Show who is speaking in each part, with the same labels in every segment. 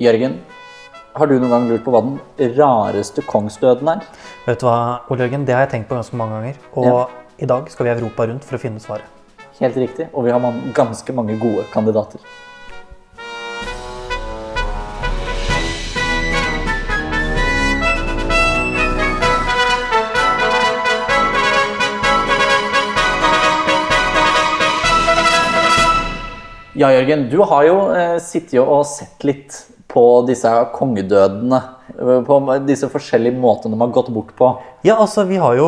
Speaker 1: Jørgen, har du noen gang lurt på hva den rareste kongsdøden er?
Speaker 2: Vet du hva, Ole Jørgen, det har jeg tenkt på ganske mange ganger. Og
Speaker 1: Ja.
Speaker 2: i dag skal vi Europa rundt for å finne svaret.
Speaker 1: Helt riktig, og vi har man- ganske mange gode kandidater. Ja, Jørgen, du har jo eh, sittet og sett litt på disse her kongedødene. eh, På disse forskjellige måtene de har gått bort på.
Speaker 2: Ja, altså, vi har jo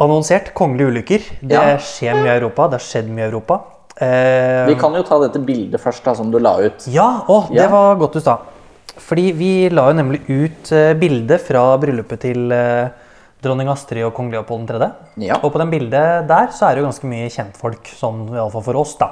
Speaker 2: annonsert kongelige ulykker. Det
Speaker 1: Ja.
Speaker 2: skjer mye i Europa. Det har skjedd mye i Europa. Eh,
Speaker 1: Vi kan jo ta dette bildet først, da, som du la ut.
Speaker 2: Ja, å, det
Speaker 1: Ja.
Speaker 2: var godt du sa. Fordi vi la jo nemlig ut eh, bilde fra bryllupet til eh, dronning Astrid og kong Leopold 3.
Speaker 1: Ja.
Speaker 2: Og på den bildet der så er det jo ganske mye kjentfolk, sånn iallfall for oss, da.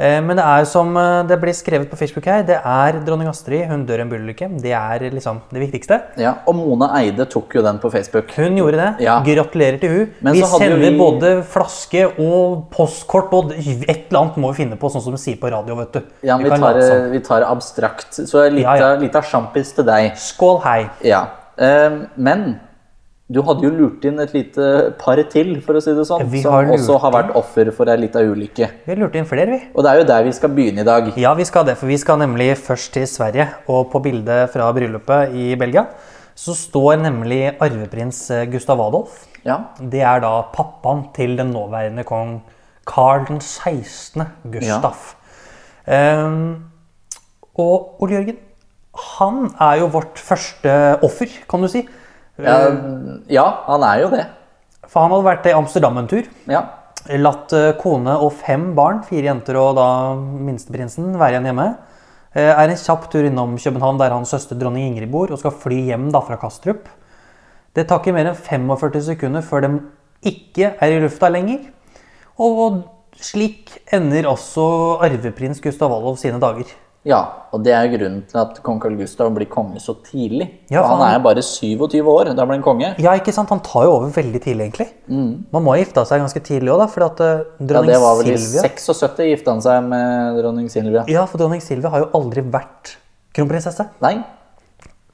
Speaker 2: Eh, Men det er jo som eh, det blir skrevet på Facebook her, det er dronning Astrid, hun dør i en bilulykke. Det er liksom det viktigste.
Speaker 1: Ja, og Mona Eide tok jo den på Facebook.
Speaker 2: Hun gjorde det.
Speaker 1: Ja.
Speaker 2: Gratulerer til hun.
Speaker 1: Men
Speaker 2: vi
Speaker 1: så hadde jo
Speaker 2: sender
Speaker 1: vi-
Speaker 2: både flaske og postkort og et eller annet må vi finne på, sånn som de sier på radio, vet du.
Speaker 1: Ja, vi
Speaker 2: kan
Speaker 1: tar,
Speaker 2: late som.
Speaker 1: det- vi tar det abstrakt. Så litt,
Speaker 2: Ja, ja.
Speaker 1: av- litt av sjampis til deg.
Speaker 2: Skål, hei.
Speaker 1: Ja. Eh, men du hadde jo lurt inn et lite par til, for å si det sånn,
Speaker 2: Vi
Speaker 1: som
Speaker 2: har lurt
Speaker 1: også har vært offer for ei lita ulykke.
Speaker 2: Vi lurte inn flere, vi.
Speaker 1: Og det er jo der vi skal begynne i dag.
Speaker 2: Ja, vi skal det, for vi skal nemlig først til Sverige. Og på bildet fra bryllupet i Belgia så står nemlig arveprins eh, Gustav Adolf.
Speaker 1: Ja,
Speaker 2: Det er da pappaen til den nåværende kong Karl den 16. Gustav. Ehm, og Ole Jørgen, han er jo vårt første offer, kan du si.
Speaker 1: ja, ehm,
Speaker 2: Eh.
Speaker 1: ja han er jo det.
Speaker 2: For han hadde vært i Amsterdam en tur.
Speaker 1: Ja.
Speaker 2: Latt eh, kone og fem barn, fire jenter og da minsteprinsen, være igjen hjemme. Eh, Er en kjapp tur innom København, der hans søster dronning Ingrid bor, og skal fly hjem da fra Kastrup. Det tar ikke mer enn 45 sekunder før de ikke er i lufta lenger. Og slik ender også arveprins Gustav Adolf sine dager.
Speaker 1: ja, og det er grunnen til at kong Carl Gustav blir konge så tidlig.
Speaker 2: Ja,
Speaker 1: for han
Speaker 2: faen.
Speaker 1: er bare 27 år da han ble en konge.
Speaker 2: Ja, ikke sant? Han tar jo over veldig tidlig, egentlig. Man må ha gifta seg ganske tidlig òg, da. For at eh,
Speaker 1: Mm. Ja,
Speaker 2: dronning
Speaker 1: det var vel i
Speaker 2: Silvia
Speaker 1: 76 gifta han seg med dronning Silvia.
Speaker 2: Ja, for dronning Silvia har jo aldri vært kronprinsesse.
Speaker 1: Nei,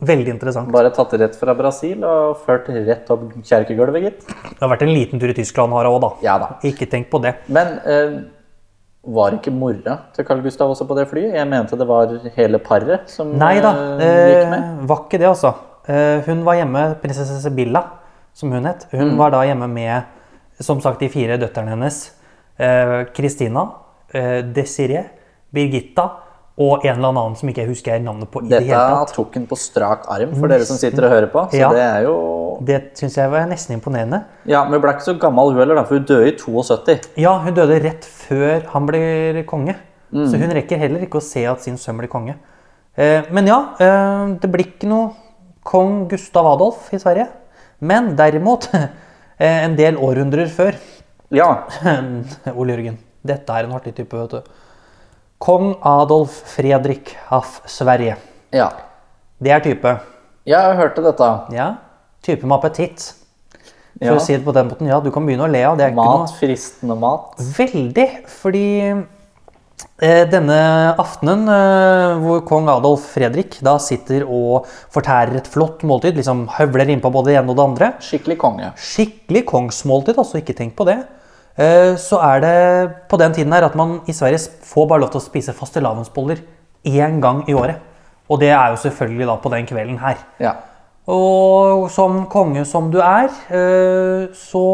Speaker 2: Veldig interessant.
Speaker 1: Bare tatt det rett fra Brasil og ført rett opp kjerkegulvet, gitt.
Speaker 2: Det har vært en liten tur i Tyskland her òg, da.
Speaker 1: Ja da.
Speaker 2: Ikke tenk på det.
Speaker 1: Men eh, var ikke mora til Carl Gustav også på det flyet? Jeg mente det var hele paret som
Speaker 2: Nei da,
Speaker 1: eh, gikk med.
Speaker 2: eh, var ikke det, altså. Eh, hun var hjemme, prinsesse Sibilla, som hun het. Hun
Speaker 1: Mm.
Speaker 2: var da hjemme med som sagt, de fire døtrene hennes. Eh, Christina, eh, Desiree, Birgitta og en eller annen som ikke jeg husker navnet på. i det
Speaker 1: Dette
Speaker 2: hele tatt.
Speaker 1: tok hun på strak arm for dere som sitter og hører på. Så
Speaker 2: Ja.
Speaker 1: det er jo
Speaker 2: Det syns jeg var nesten imponerende.
Speaker 1: Ja, men hun ble ikke så gammel hun heller, da, for hun døde i 72.
Speaker 2: Ja, hun døde rett før han blir konge.
Speaker 1: Mm.
Speaker 2: Så hun rekker heller ikke å se at sin sønn blir konge. Eh, men ja, eh, det blir ikke noe kong Gustav Adolf i Sverige. Men derimot, eh, en del århundrer før
Speaker 1: Ja.
Speaker 2: Ole Jørgen, dette er en artig type, vet du. Kong Adolf Fredrik av Sverige.
Speaker 1: ja.
Speaker 2: Det er type.
Speaker 1: Jeg hørte dette.
Speaker 2: Ja, type med appetitt. For
Speaker 1: Ja.
Speaker 2: å si det på den måten. Ja, du kan begynne å le av det. er ikke noe-
Speaker 1: Mat, fristende mat.
Speaker 2: Veldig, fordi eh, denne aftenen eh, hvor kong Adolf Fredrik da sitter og fortærer et flott måltid, liksom høvler innpå både det ene og det andre,
Speaker 1: Skikkelig konge.
Speaker 2: skikkelig kongsmåltid, altså ikke tenk på det, eh, så er det på den tiden her at man i Sverige s- får bare lov til å spise fastelavnsboller én gang i året. Og det er jo selvfølgelig da på den kvelden her.
Speaker 1: Ja.
Speaker 2: Og som konge som du er, eh, så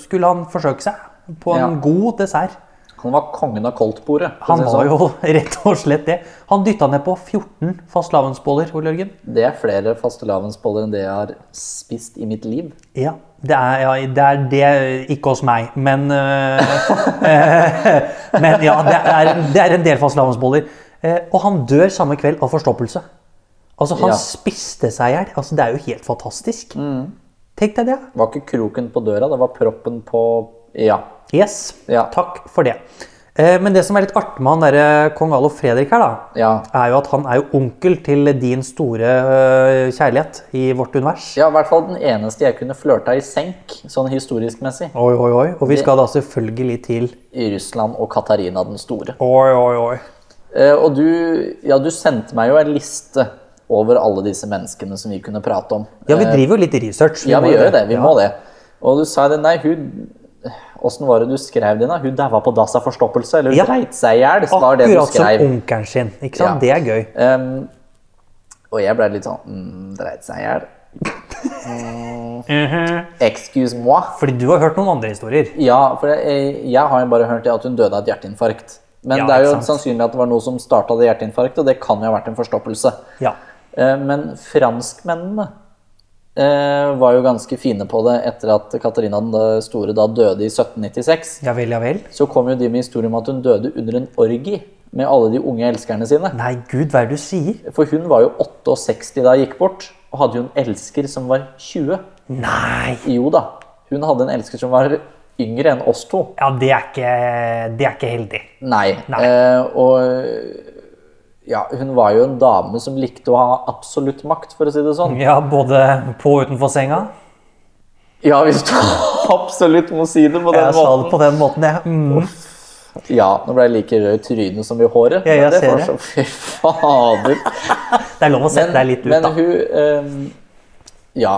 Speaker 2: skulle han forsøke seg på en
Speaker 1: Ja.
Speaker 2: god dessert.
Speaker 1: Han var kongen av koldtbordet. for å
Speaker 2: Han
Speaker 1: si det
Speaker 2: var
Speaker 1: sånn.
Speaker 2: jo rett og slett det. Han dytta ned på 14 fastelavnsboller, Ole Jørgen.
Speaker 1: Det er flere fastelavnsboller enn det jeg har spist i mitt liv.
Speaker 2: Ja, det er, ja, det er det ikke hos meg, men eh, eh, Men ja, det er, det er en del fastelavnsboller. Eh, og han dør samme kveld av forstoppelse. Altså, han
Speaker 1: Ja.
Speaker 2: spiste seg i hjel. Altså, det er jo helt fantastisk. Tenk deg det.
Speaker 1: Det var ikke kroken på døra, det var proppen på Ja.
Speaker 2: Yes,
Speaker 1: Ja.
Speaker 2: takk for det. Eh, men det som er litt artig med han derre kong Adolf Fredrik her, da,
Speaker 1: Ja,
Speaker 2: er jo at han er jo onkel til din store eh, kjærlighet i vårt univers.
Speaker 1: ja i hvert fall den eneste jeg kunne flørta i senk, sånn historisk messig.
Speaker 2: Oi, oi, oi. Og vi skal da selvfølgelig til
Speaker 1: I Russland og Katarina den store.
Speaker 2: Oi, oi, oi.
Speaker 1: Eh, Og du, ja, du sendte meg jo en liste over alle disse menneskene som vi kunne prate om.
Speaker 2: Ja, vi driver jo litt research.
Speaker 1: Eh, Ja,
Speaker 2: må
Speaker 1: vi
Speaker 2: jo
Speaker 1: gjør jo det. Vi
Speaker 2: Ja.
Speaker 1: må det. Og du sa det, nei, hun Åssen var det du skrev den? da? Hun daua på dass av forstoppelse? Eller hun
Speaker 2: Ja.
Speaker 1: dreit seg i hjel? var det du
Speaker 2: Akkurat som
Speaker 1: skrev.
Speaker 2: onkelen sin. ikke sant? Det
Speaker 1: Ja.
Speaker 2: er gøy.
Speaker 1: Ehm, og jeg ble litt sånn mm, Dreit seg i hjel?
Speaker 2: Mm-hmm.
Speaker 1: Excuse moi.
Speaker 2: Fordi du har hørt noen andre historier.
Speaker 1: Ja, for jeg, jeg har jo bare hørt at hun døde av et hjerteinfarkt. Men
Speaker 2: Ja,
Speaker 1: det er jo
Speaker 2: ikke sant.
Speaker 1: sannsynlig at det var noe som starta det hjerteinfarktet, og det kan jo ha vært en forstoppelse.
Speaker 2: Ja.
Speaker 1: Eh, Men franskmennene eh, var jo ganske fine på det etter at Katarina den store da døde i 1796.
Speaker 2: Ja vel, ja vel.
Speaker 1: Så kom jo de med historien om at hun døde under en orgi med alle de unge elskerne sine.
Speaker 2: Nei, gud, hva er det du sier?
Speaker 1: For hun var jo 68 da hun gikk bort, og hadde jo en elsker som var 20.
Speaker 2: Nei!
Speaker 1: Jo da, hun hadde en elsker som var yngre enn oss to.
Speaker 2: Ja, det er ikke, det er ikke heldig.
Speaker 1: Nei.
Speaker 2: Nei.
Speaker 1: Eh, og ja, hun var jo en dame som likte å ha absolutt makt, for å si det sånn.
Speaker 2: Ja, både på og utenfor senga.
Speaker 1: Ja, hvis du absolutt må si det på den
Speaker 2: Jeg sa
Speaker 1: måten.
Speaker 2: det på den måten, jeg. Mm.
Speaker 1: Ja, nå ble jeg like rød i trynet som i håret.
Speaker 2: Ja, jeg
Speaker 1: men det
Speaker 2: ser
Speaker 1: får
Speaker 2: det.
Speaker 1: så- Fy fader.
Speaker 2: Det er lov å sette deg litt ut,
Speaker 1: men
Speaker 2: da.
Speaker 1: hun ehm, Ja.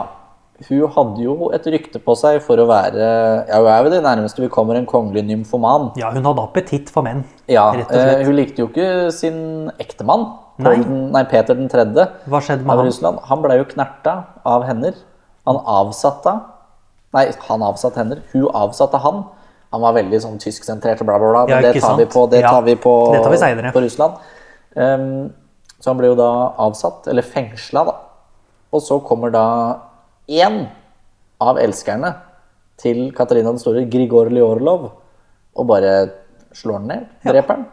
Speaker 1: Hun hadde jo et rykte på seg for å være Ja, hun er jo det nærmeste vi kommer en kongelig nymfoman.
Speaker 2: Ja, hun hadde appetitt for menn.
Speaker 1: Ja,
Speaker 2: Rett og slett.
Speaker 1: eh, Hun likte jo ikke sin ektemann,
Speaker 2: Nei.
Speaker 1: Paul den- nei, Peter den tredje
Speaker 2: Hva skjedde
Speaker 1: av
Speaker 2: med han?
Speaker 1: Russland. Han ble jo knerta av hender. Han avsatte han. Nei, han avsatte hender. Hun avsatte han. Han var veldig sånn tysksentrert og bla, bla, bla. Men
Speaker 2: Ja,
Speaker 1: det
Speaker 2: ikke
Speaker 1: tar vi
Speaker 2: sant?
Speaker 1: på, det
Speaker 2: Ja,
Speaker 1: tar vi på,
Speaker 2: det tar vi senere.
Speaker 1: på Russland. Ehm, så han ble jo da avsatt, eller fengsla, da. Og så kommer da én av elskerne til Katarina den store, Grigor Ljorlov, og bare slår den ned. Dreper den.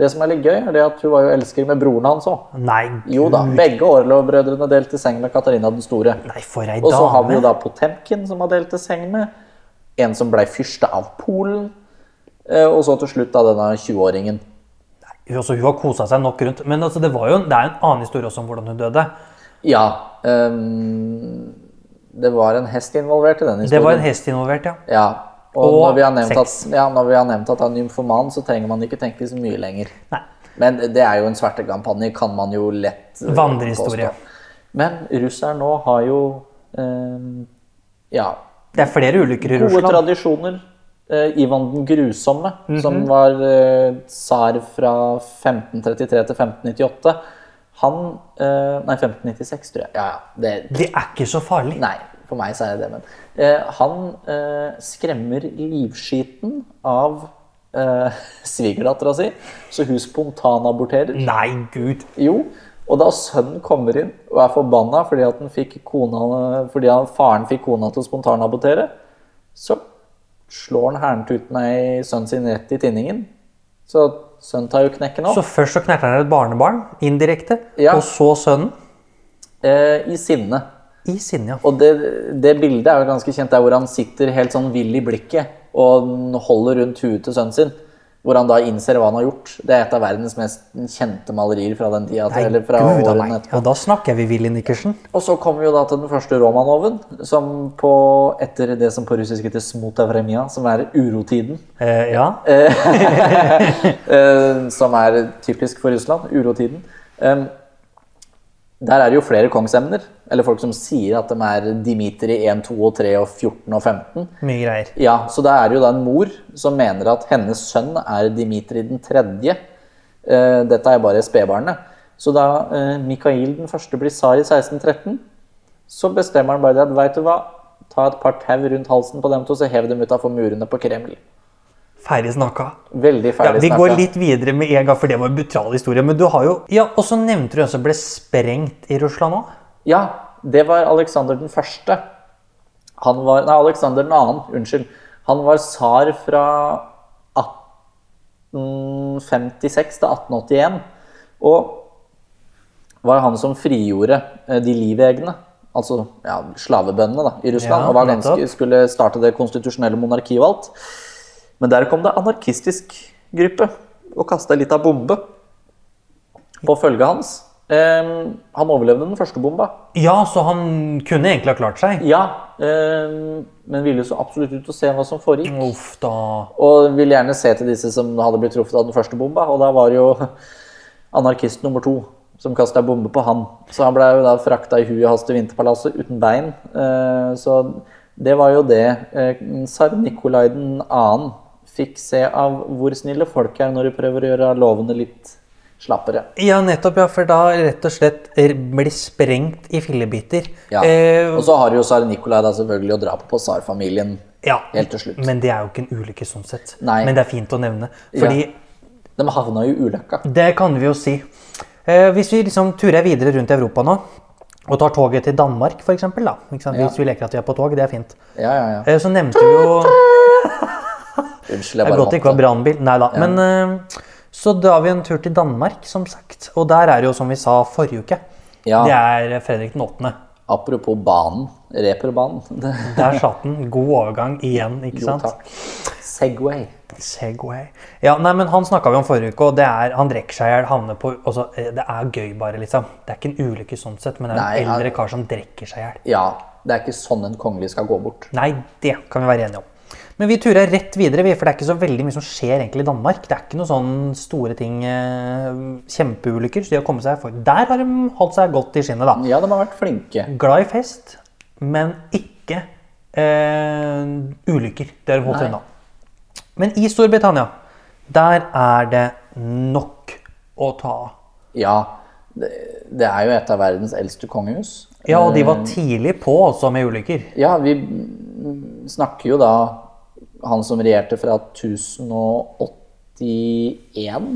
Speaker 1: Det som er litt gøy, er det at hun var jo elsker med broren hans òg.
Speaker 2: Nei,
Speaker 1: Jo da, begge Orlov-brødrene delte seng med Katarina den store.
Speaker 2: Mm. nei, for ei
Speaker 1: Og så har vi jo
Speaker 2: dame.
Speaker 1: da Potemkin som har delt seng med. En som blei fyrste av Polen. eh, Og så til slutt da denne 20-åringen.
Speaker 2: Hun, altså, hun har kosa seg nok rundt. Men altså, det, var jo, en- det er en annen historie også om hvordan hun døde.
Speaker 1: Ja. ehm, det var en hest involvert i den historien.
Speaker 2: Det var en hest involvert, ja.
Speaker 1: Ja. Og,
Speaker 2: Og
Speaker 1: når, vi har nevnt at,
Speaker 2: sex.
Speaker 1: ja, når vi har nevnt at han er nymfoman, så trenger man ikke tenke så mye lenger.
Speaker 2: Nei.
Speaker 1: Men det er jo en svertekampanje, kan man jo lett eh,
Speaker 2: Vandrehistorie.
Speaker 1: påstå. Men russeren nå har jo ehm, Ja.
Speaker 2: Det er flere ulykker i
Speaker 1: Gode
Speaker 2: Russland.
Speaker 1: tradisjoner. Eh, Ivan den grusomme, som var eh, tsar fra 1533 til 1598 Han eh, Nei, 1596, tror jeg. Ja, ja. Det,
Speaker 2: Det er ikke så farlig.
Speaker 1: nei, for meg så er det det, men eh, Han eh, skremmer livskiten av eh, svigerdattera si, så hun spontanaborterer.
Speaker 2: Nei, gud.
Speaker 1: Jo, og da sønnen kommer inn og er forbanna fordi, at den fikk kona, fordi han, faren fikk kona til å spontanabotere, så slår han hernetuten ei sønnen sin rett i tinningen. Så sønnen tar jo knekken opp.
Speaker 2: Så først så knerter han et barnebarn, indirekte,
Speaker 1: Ja.
Speaker 2: og så sønnen.
Speaker 1: Eh, I sinne.
Speaker 2: I sinne, ja.
Speaker 1: Og det, det bildet er jo ganske kjent, det er hvor han sitter helt sånn vill i blikket og holder rundt huet til sønnen sin. Hvor han da innser hva han har gjort. Det er et av verdens mest kjente malerier fra den tida.
Speaker 2: Nei,
Speaker 1: eller fra
Speaker 2: gud a
Speaker 1: årene
Speaker 2: meg.
Speaker 1: etterpå.
Speaker 2: Og da snakker vi Willy Nikkersen.
Speaker 1: Og så kommer vi jo da til den første Romanoven, som på, etter det som på russisk heter smotavremia, som er urotiden.
Speaker 2: Eh, ja.
Speaker 1: Eh, som er typisk for Russland, urotiden. Eh, der er det jo flere kongsemner, eller folk som sier at de er Dimitri 1, 2 og 3 og 14 og 15.
Speaker 2: Mye greier.
Speaker 1: Ja, så da er det jo da en mor som mener at hennes sønn er Dimitri den tredje. Eh, dette er bare spedbarnet. Så da eh, Mikael den første blir tsar i 1613, så bestemmer han bare det at vet du hva, ta et par tau rundt halsen på dem to, så hev dem utafor murene på Kreml.
Speaker 2: Ferdig snakka.
Speaker 1: Veldig
Speaker 2: Ja,
Speaker 1: ferdig
Speaker 2: vi
Speaker 1: snakka.
Speaker 2: går litt videre med en gang, for det var en brutal historie. Men du har jo Ja, og så nevnte du en som ble sprengt i Russland òg.
Speaker 1: Ja, det var Alexander den første. Han var Nei, Alexander den annen. Unnskyld. Han var tsar fra 1856 til 1881. Og var han som frigjorde eh, de livegne, altså ja, slavebøndene da, i Russland.
Speaker 2: Ja,
Speaker 1: og var ganske,
Speaker 2: nettopp.
Speaker 1: skulle starte det konstitusjonelle monarkiet og alt. Men der kom det anarkistisk gruppe og kasta litt av bombe på følget hans. Eh, han overlevde den første bomba.
Speaker 2: Ja, så han kunne egentlig ha klart seg.
Speaker 1: Ja, eh, men ville jo så absolutt ut og se hva som foregikk.
Speaker 2: Uff da.
Speaker 1: Og ville gjerne se til disse som hadde blitt truffet av den første bomba. Og da var det jo anarkist nummer to, som kasta bombe på han. Så han ble jo da frakta i huet hans til Vinterpalasset uten bein. Eh, Så det var jo det eh, tsar Nikolai 2. fikk se av hvor snille folk er når de prøver å gjøre lovene litt slappere.
Speaker 2: Ja, nettopp, ja, for da rett og slett er- blir sprengt i fillebiter.
Speaker 1: Ja.
Speaker 2: Eh,
Speaker 1: Og så har jo tsar Nikolai da selvfølgelig å dra på på tsarfamilien
Speaker 2: ja.
Speaker 1: helt til slutt.
Speaker 2: Men det er jo ikke en ulykke sånn sett.
Speaker 1: Nei.
Speaker 2: Men det er fint å nevne. Fordi
Speaker 1: De havna i ulykka.
Speaker 2: det kan vi jo si. Eh, hvis vi liksom turer videre rundt i Europa nå, og tar toget til Danmark f.eks., da. Ikke sant? Hvis vi leker at vi er på tog, det er fint.
Speaker 1: Ja, ja, ja.
Speaker 2: Eh, så nevnte vi jo
Speaker 1: Unnskyld, jeg
Speaker 2: Det er
Speaker 1: bare
Speaker 2: godt det ikke var
Speaker 1: måtte.
Speaker 2: brannbil. Nei da. Men eh, så drar vi en tur til Danmark, som sagt. Og der er det jo som vi sa forrige uke.
Speaker 1: Ja.
Speaker 2: Det er Fredrik den 8.
Speaker 1: Apropos banen. Reperbanen. Det-
Speaker 2: Der satt den. God overgang igjen, ikke
Speaker 1: Jo,
Speaker 2: sant?
Speaker 1: takk. Segway.
Speaker 2: Segway. Ja, nei, men Han snakka vi om forrige uke, og det er, han drikker seg i hjel. havner på- altså, eh, Det er gøy, bare. liksom. Det er ikke en ulykke sånn sett, men det er en
Speaker 1: Nei, ja.
Speaker 2: eldre kar som drikker seg i hjel.
Speaker 1: Ja, det er ikke sånn en kongelig skal gå bort.
Speaker 2: Nei, det kan vi være enige om. Men vi turer rett videre, vi, for det er ikke så veldig mye som skjer egentlig i Danmark. Det er ikke noen sånne store ting, eh, kjempeulykker. Så de har kommet seg for. Der har de holdt seg godt i skinnet, da.
Speaker 1: Ja, de har vært flinke.
Speaker 2: Glad i fest, men ikke eh, ulykker. Det har de holdt
Speaker 1: Nei.
Speaker 2: unna. Men i Storbritannia, der er det nok å ta av.
Speaker 1: Ja, det, det er jo et av verdens eldste kongehus.
Speaker 2: Ja, og de var tidlig på også med ulykker.
Speaker 1: Ja, vi mm, snakker jo da han som regjerte fra 1081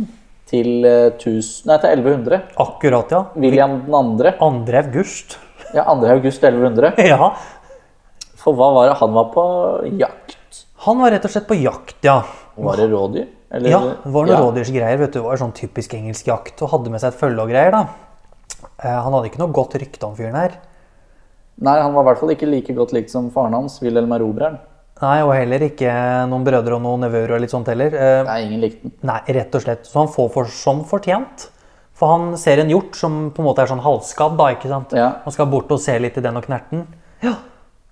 Speaker 1: til, eh, 1000, nei, til 1100.
Speaker 2: Akkurat, ja.
Speaker 1: William den andre.
Speaker 2: 2. august.
Speaker 1: Ja, 2. august 1100.
Speaker 2: Ja.
Speaker 1: For hva var det han var på jakt?
Speaker 2: Han var rett og slett på jakt, ja.
Speaker 1: Var det rådyr? Eller-
Speaker 2: Ja, det var noen rådyrsgreier. vet du, det var sånn Typisk engelsk jakt. Og hadde med seg et følge og greier. da. Eh, han hadde ikke noe godt rykte om fyren her.
Speaker 1: Nei, han var i hvert fall ikke like godt likt som faren hans, Wilhelm Erobreren.
Speaker 2: Nei, Og heller ikke noen brødre og noen nevøer og litt sånt heller. Eh,
Speaker 1: Nei, ingen likte den.
Speaker 2: Nei, rett og slett. Så han får for, som fortjent. For han ser en hjort som på en måte er sånn halvskadd, da, ikke sant?
Speaker 1: Ja.
Speaker 2: Han skal bort og se litt i den og knerte den. Ja.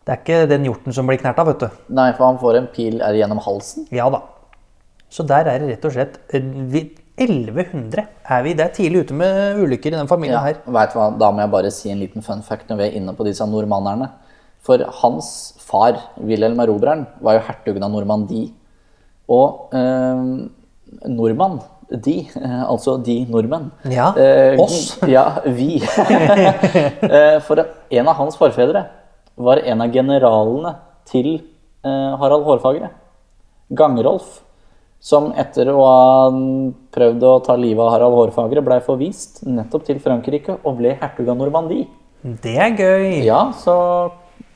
Speaker 2: Det er ikke den hjorten som blir knerta, vet du.
Speaker 1: Nei, for han får en pil er det gjennom halsen.
Speaker 2: Ja da. Så der er det rett og slett eh, vi- 1100 er vi. Det er tidlig ute med ulykker i den familien her.
Speaker 1: Vet du hva, Da må jeg bare si en liten fun fact når vi er inne på disse nordmannerne. For hans far, Wilhelm Erobreren, var jo hertugen av Normandie. Og eh, nordmann, de, eh, altså de nordmenn
Speaker 2: Ja,
Speaker 1: eh,
Speaker 2: oss.
Speaker 1: Ja, vi. Eh, For en av hans forfedre var en av generalene til eh, Harald Hårfagre. Gangrolf. Som etter å ha prøvd å ta livet av Harald Hårfagre, blei forvist nettopp til Frankrike og ble hertug av Normandie.
Speaker 2: Det er gøy.
Speaker 1: Ja, så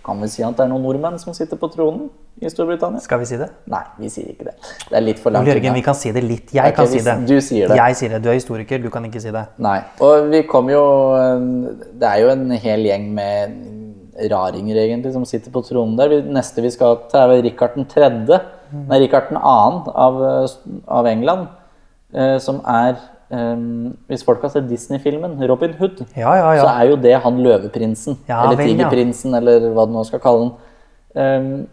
Speaker 1: kan vi si at det er noen nordmenn som sitter på tronen i Storbritannia?
Speaker 2: Skal vi si det?
Speaker 1: Nei, vi sier ikke det. Det er litt for langt
Speaker 2: Ole Jørgen, vi
Speaker 1: unna.
Speaker 2: kan si det litt. Jeg kan
Speaker 1: vi-
Speaker 2: si det.
Speaker 1: du sier det.
Speaker 2: Jeg sier det. Du er historiker, du kan ikke si det.
Speaker 1: Nei. Og vi kom jo eh, Det er jo en hel gjeng med raringer, egentlig, som sitter på tronen der. Vi- Neste vi skal til, er vel Richard 3.,
Speaker 2: Mm.
Speaker 1: nei, Richard 2. Av, eh, av England, eh, som er eh, Hvis folk har sett Disney-filmen Robin Hood,
Speaker 2: Ja, ja, ja.
Speaker 1: så er jo det han løveprinsen.
Speaker 2: Ja,
Speaker 1: eller
Speaker 2: vel, ja.
Speaker 1: tigerprinsen, eller hva du nå skal kalle den. Eh,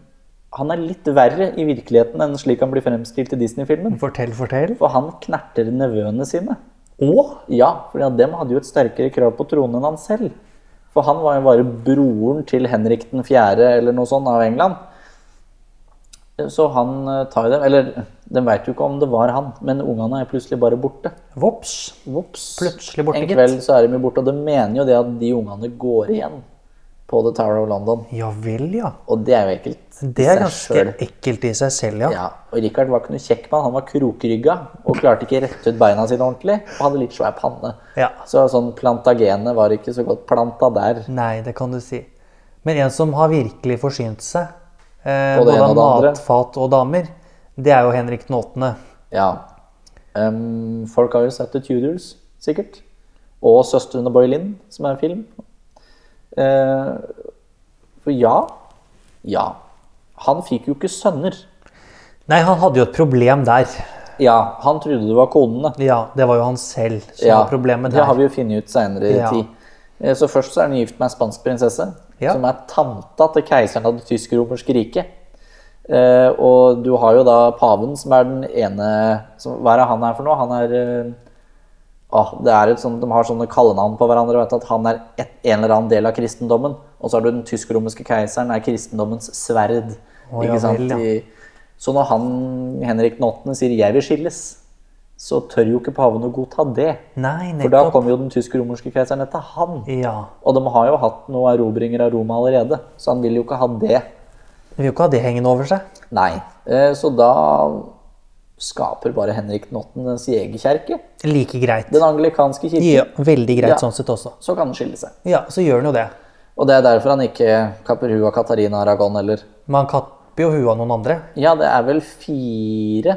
Speaker 1: han er litt verre i virkeligheten enn slik han blir fremstilt i Disney-filmen.
Speaker 2: Fortell, fortell.
Speaker 1: For han knerter nevøene sine.
Speaker 2: Og
Speaker 1: Ja, for dem hadde jo et sterkere krav på tronen enn han selv. For han var jo bare broren til Henrik den 4. eller noe sånt av England. Så han eh, tar jo dem Eller de veit jo ikke om det var han, men ungene er plutselig bare borte.
Speaker 2: vops.
Speaker 1: Vops.
Speaker 2: Plutselig borte,
Speaker 1: En
Speaker 2: gitt.
Speaker 1: kveld så er de jo borte, og de mener jo det at de ungene går igjen på The Tower of London.
Speaker 2: Ja vel, ja.
Speaker 1: Og det er jo ekkelt. i
Speaker 2: Det er
Speaker 1: seg
Speaker 2: ganske
Speaker 1: selv.
Speaker 2: ekkelt i seg selv, ja.
Speaker 1: ja, Og Richard var ikke noe kjekk mann. Han var krokrygga og klarte ikke rette ut beina sine ordentlig. Og hadde litt svær panne.
Speaker 2: Ja.
Speaker 1: Så sånn plantagenet var ikke så godt planta der.
Speaker 2: Nei, det kan du si. Men en som har virkelig forsynt seg, eh,
Speaker 1: Både
Speaker 2: både
Speaker 1: en og
Speaker 2: av
Speaker 1: det andre.
Speaker 2: matfat og damer, det er jo Henrik den åttende.
Speaker 1: Ja. Ehm, folk har jo sett The Tudors, sikkert. Og Søstrene Boylin, som er en film. Eh, for ja Ja. Han fikk jo ikke sønner.
Speaker 2: Nei, han hadde jo et problem der.
Speaker 1: Ja, han trodde det var konene.
Speaker 2: Ja, det var jo han selv som
Speaker 1: Ja,
Speaker 2: var problemet
Speaker 1: Det har vi jo
Speaker 2: der.
Speaker 1: funnet ut seinere i
Speaker 2: Ja.
Speaker 1: tid. Eh, Så først så er han gift med en spansk prinsesse,
Speaker 2: Ja.
Speaker 1: som er tanta til keiseren av det tysk-romerske riket. Eh, og du har jo da paven, som er den ene som, Hva er det han er for noe? Han er eh, Åh, det er et sånt, De har sånne kallenavn på hverandre. Vet du, at Han er et, en eller annen del av kristendommen. Og så har du den tysk-romerske keiseren, er kristendommens sverd.
Speaker 2: Å, ja
Speaker 1: ikke sant?
Speaker 2: vel, ja.
Speaker 1: I, så når han, Henrik 8. sier 'jeg vil skilles', så tør jo ikke paven å godta det.
Speaker 2: Nei,
Speaker 1: For da
Speaker 2: nettopp.
Speaker 1: kommer jo den tysk-romerske keiseren etter han.
Speaker 2: Ja.
Speaker 1: Og de har jo hatt noen erobringer av Roma allerede, så han vil jo ikke ha det.
Speaker 2: Vi vil jo ikke ha det hengende over seg.
Speaker 1: Nei. Eh, Så da skaper bare Henrik 8. dens jegerkjerke.
Speaker 2: Like greit.
Speaker 1: Den anglikanske kirken.
Speaker 2: Ja, veldig greit
Speaker 1: Ja.
Speaker 2: sånn sett også.
Speaker 1: Så kan den skille seg.
Speaker 2: Ja, så gjør den jo det.
Speaker 1: Og det er derfor han ikke kapper huet av Katarina Aragon heller.
Speaker 2: Man kapper jo huet av noen andre.
Speaker 1: Ja, det er vel fire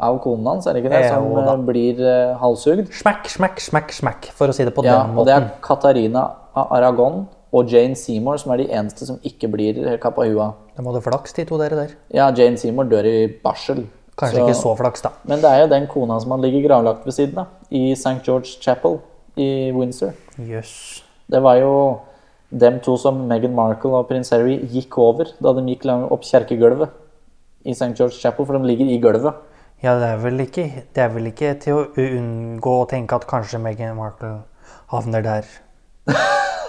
Speaker 1: av konene hans, er det ikke det,
Speaker 2: Ja,
Speaker 1: som
Speaker 2: da.
Speaker 1: eh, blir eh, halshugd?
Speaker 2: Smekk, smekk, smekk, smekk, for å si det på
Speaker 1: Ja,
Speaker 2: den
Speaker 1: og det
Speaker 2: måten.
Speaker 1: er Katarina av Aragon og Jane Seymour som er de eneste som ikke blir kappa huet av.
Speaker 2: Da må du flaks, de to dere der.
Speaker 1: Ja, Jane Seymour dør i barsel.
Speaker 2: Kanskje ikke så flaks, da.
Speaker 1: Men det er jo den kona som han ligger gravlagt ved siden av, i St. George Chapel i Windsor.
Speaker 2: Jøss.
Speaker 1: Det var jo dem to som Meghan Markle og prins Harry gikk over da de gikk lang- opp kjerkegulvet i St. George Chapel, for de ligger i gulvet.
Speaker 2: Ja, det er, vel ikke, det er vel ikke til å unngå å tenke at kanskje Meghan Markle havner der.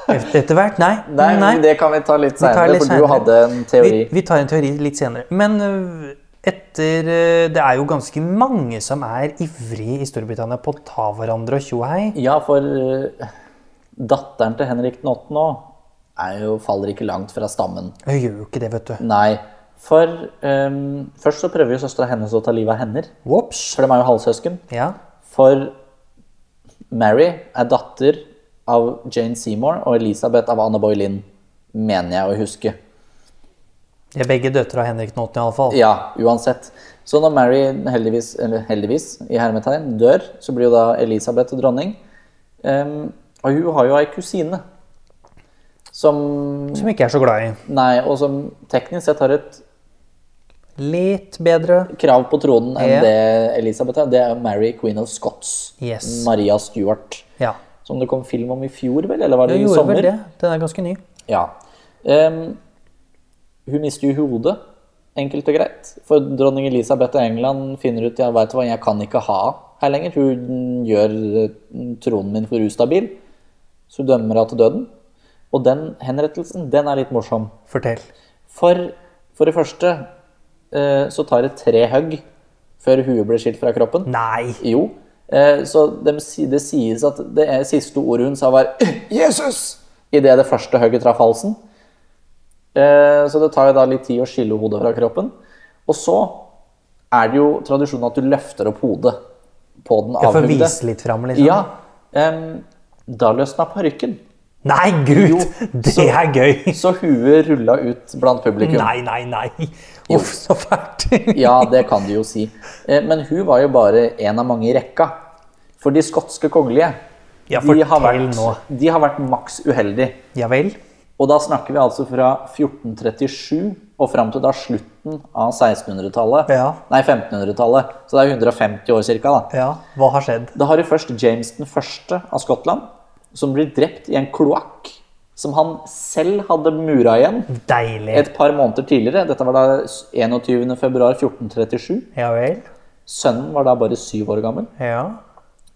Speaker 2: Etter etter hvert? Nei.
Speaker 1: Nei, men det kan vi ta litt
Speaker 2: tar
Speaker 1: senere,
Speaker 2: litt
Speaker 1: for du
Speaker 2: senere.
Speaker 1: hadde en teori.
Speaker 2: Vi, vi tar en teori litt senere. Men øh, etter øh, Det er jo ganske mange som er ivrige i Storbritannia på å ta hverandre og tjo og hei.
Speaker 1: Ja, for eh, datteren til Henrik den 8. nå er jo, faller ikke langt fra stammen.
Speaker 2: Hun gjør jo ikke det, vet du.
Speaker 1: Nei, for eh, først så prøver jo søstera hennes å ta livet av henne,
Speaker 2: Ops.
Speaker 1: for de er jo halvsøsken.
Speaker 2: Ja.
Speaker 1: For Mary er datter av Jane Seymour og Elisabeth av Anne Boleyn, mener jeg å huske.
Speaker 2: De er begge døtre av Henrik den 8., iallfall.
Speaker 1: Ja, uansett. Så når Mary heldigvis, eller heldigvis i hermetegn, dør, så blir jo da Elisabeth dronning. Ehm, og hun har jo ei kusine som
Speaker 2: Som ikke er så glad i.
Speaker 1: Nei, og som teknisk sett har et
Speaker 2: Litt bedre.
Speaker 1: krav på tronen enn
Speaker 2: Ja.
Speaker 1: det Elisabeth har. Det er Mary, queen of Scots.
Speaker 2: Yes.
Speaker 1: Maria Stuart.
Speaker 2: Ja.
Speaker 1: Som det kom film om i fjor, vel? Eller var det
Speaker 2: Hun
Speaker 1: i
Speaker 2: gjorde
Speaker 1: sommer?
Speaker 2: vel det. Den er ganske ny.
Speaker 1: Ja. Ehm, hun mister jo hodet, enkelt og greit. For dronning Elisabeth av England finner ut ja, vet du hva, jeg kan ikke ha her lenger. Hun gjør eh, tronen min for ustabil, så hun dømmer henne til døden. Og den henrettelsen, den er litt morsom.
Speaker 2: Fortell.
Speaker 1: For, for det første eh, så tar det tre hugg før huet blir skilt fra kroppen.
Speaker 2: Nei!
Speaker 1: Jo. Eh, så dem si- det sies at det er- siste ordet hun sa, var «Øh, 'Jesus!' idet det første hugget traff halsen. Eh, så det tar jo da litt tid å skille hodet fra kroppen. Og så er det jo tradisjonen at du løfter opp hodet på den
Speaker 2: Jeg får
Speaker 1: avhugde.
Speaker 2: vise litt fram, liksom.
Speaker 1: Ja, em, da løsna parykken.
Speaker 2: Nei, gud! det
Speaker 1: så-
Speaker 2: er gøy!
Speaker 1: Så huet rulla ut blant publikum.
Speaker 2: Nei, nei, nei. Uff, så fælt.
Speaker 1: Ja, det kan du jo si. Eh, Men hun var jo bare en av mange i rekka. For de skotske kongelige
Speaker 2: Ja,
Speaker 1: de, har
Speaker 2: fortell
Speaker 1: vært,
Speaker 2: nå.
Speaker 1: de har vært maks uheldige.
Speaker 2: Ja vel.
Speaker 1: Og da snakker vi altså fra 1437 og fram til da slutten av 1600-tallet.
Speaker 2: Ja.
Speaker 1: Nei, 1500-tallet. Så det er 150 år cirka, da.
Speaker 2: Ja, hva har skjedd?
Speaker 1: Da har du først James den første av Skottland, som blir drept i en kloakk som han selv hadde mura igjen
Speaker 2: Deilig.
Speaker 1: et par måneder tidligere. Dette var da 21.2.1437.
Speaker 2: Ja vel.
Speaker 1: Sønnen var da bare syv år gammel.
Speaker 2: Ja.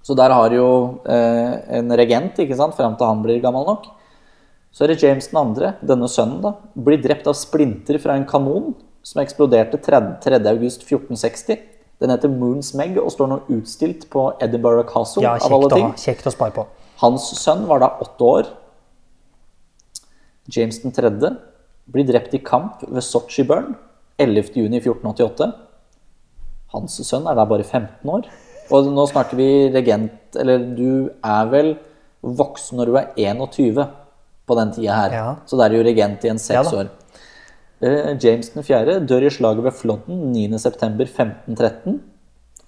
Speaker 1: Så der har jo eh, en regent ikke sant, fram til han blir gammel nok. Så er det James 2., denne sønnen, da, blir drept av splinter fra en kanon som eksploderte 3.8.1460. Den heter Moon's Meg og står nå utstilt på Edinburgh Castle.
Speaker 2: ja
Speaker 1: av alle
Speaker 2: kjekt, å,
Speaker 1: ting.
Speaker 2: ha- kjekt å spare på.
Speaker 1: Hans sønn var da åtte år. James 3. blir drept i kamp ved Sotsji Burn 11.6.1488. Hans sønn er da bare 15 år. Og nå snakker vi regent Eller du er vel voksen når du er 21 på den tida her.
Speaker 2: Ja.
Speaker 1: Så da er du jo regent i en seks
Speaker 2: da.
Speaker 1: år. Eh, James 4. dør i slaget ved Flodden 9.9.1513.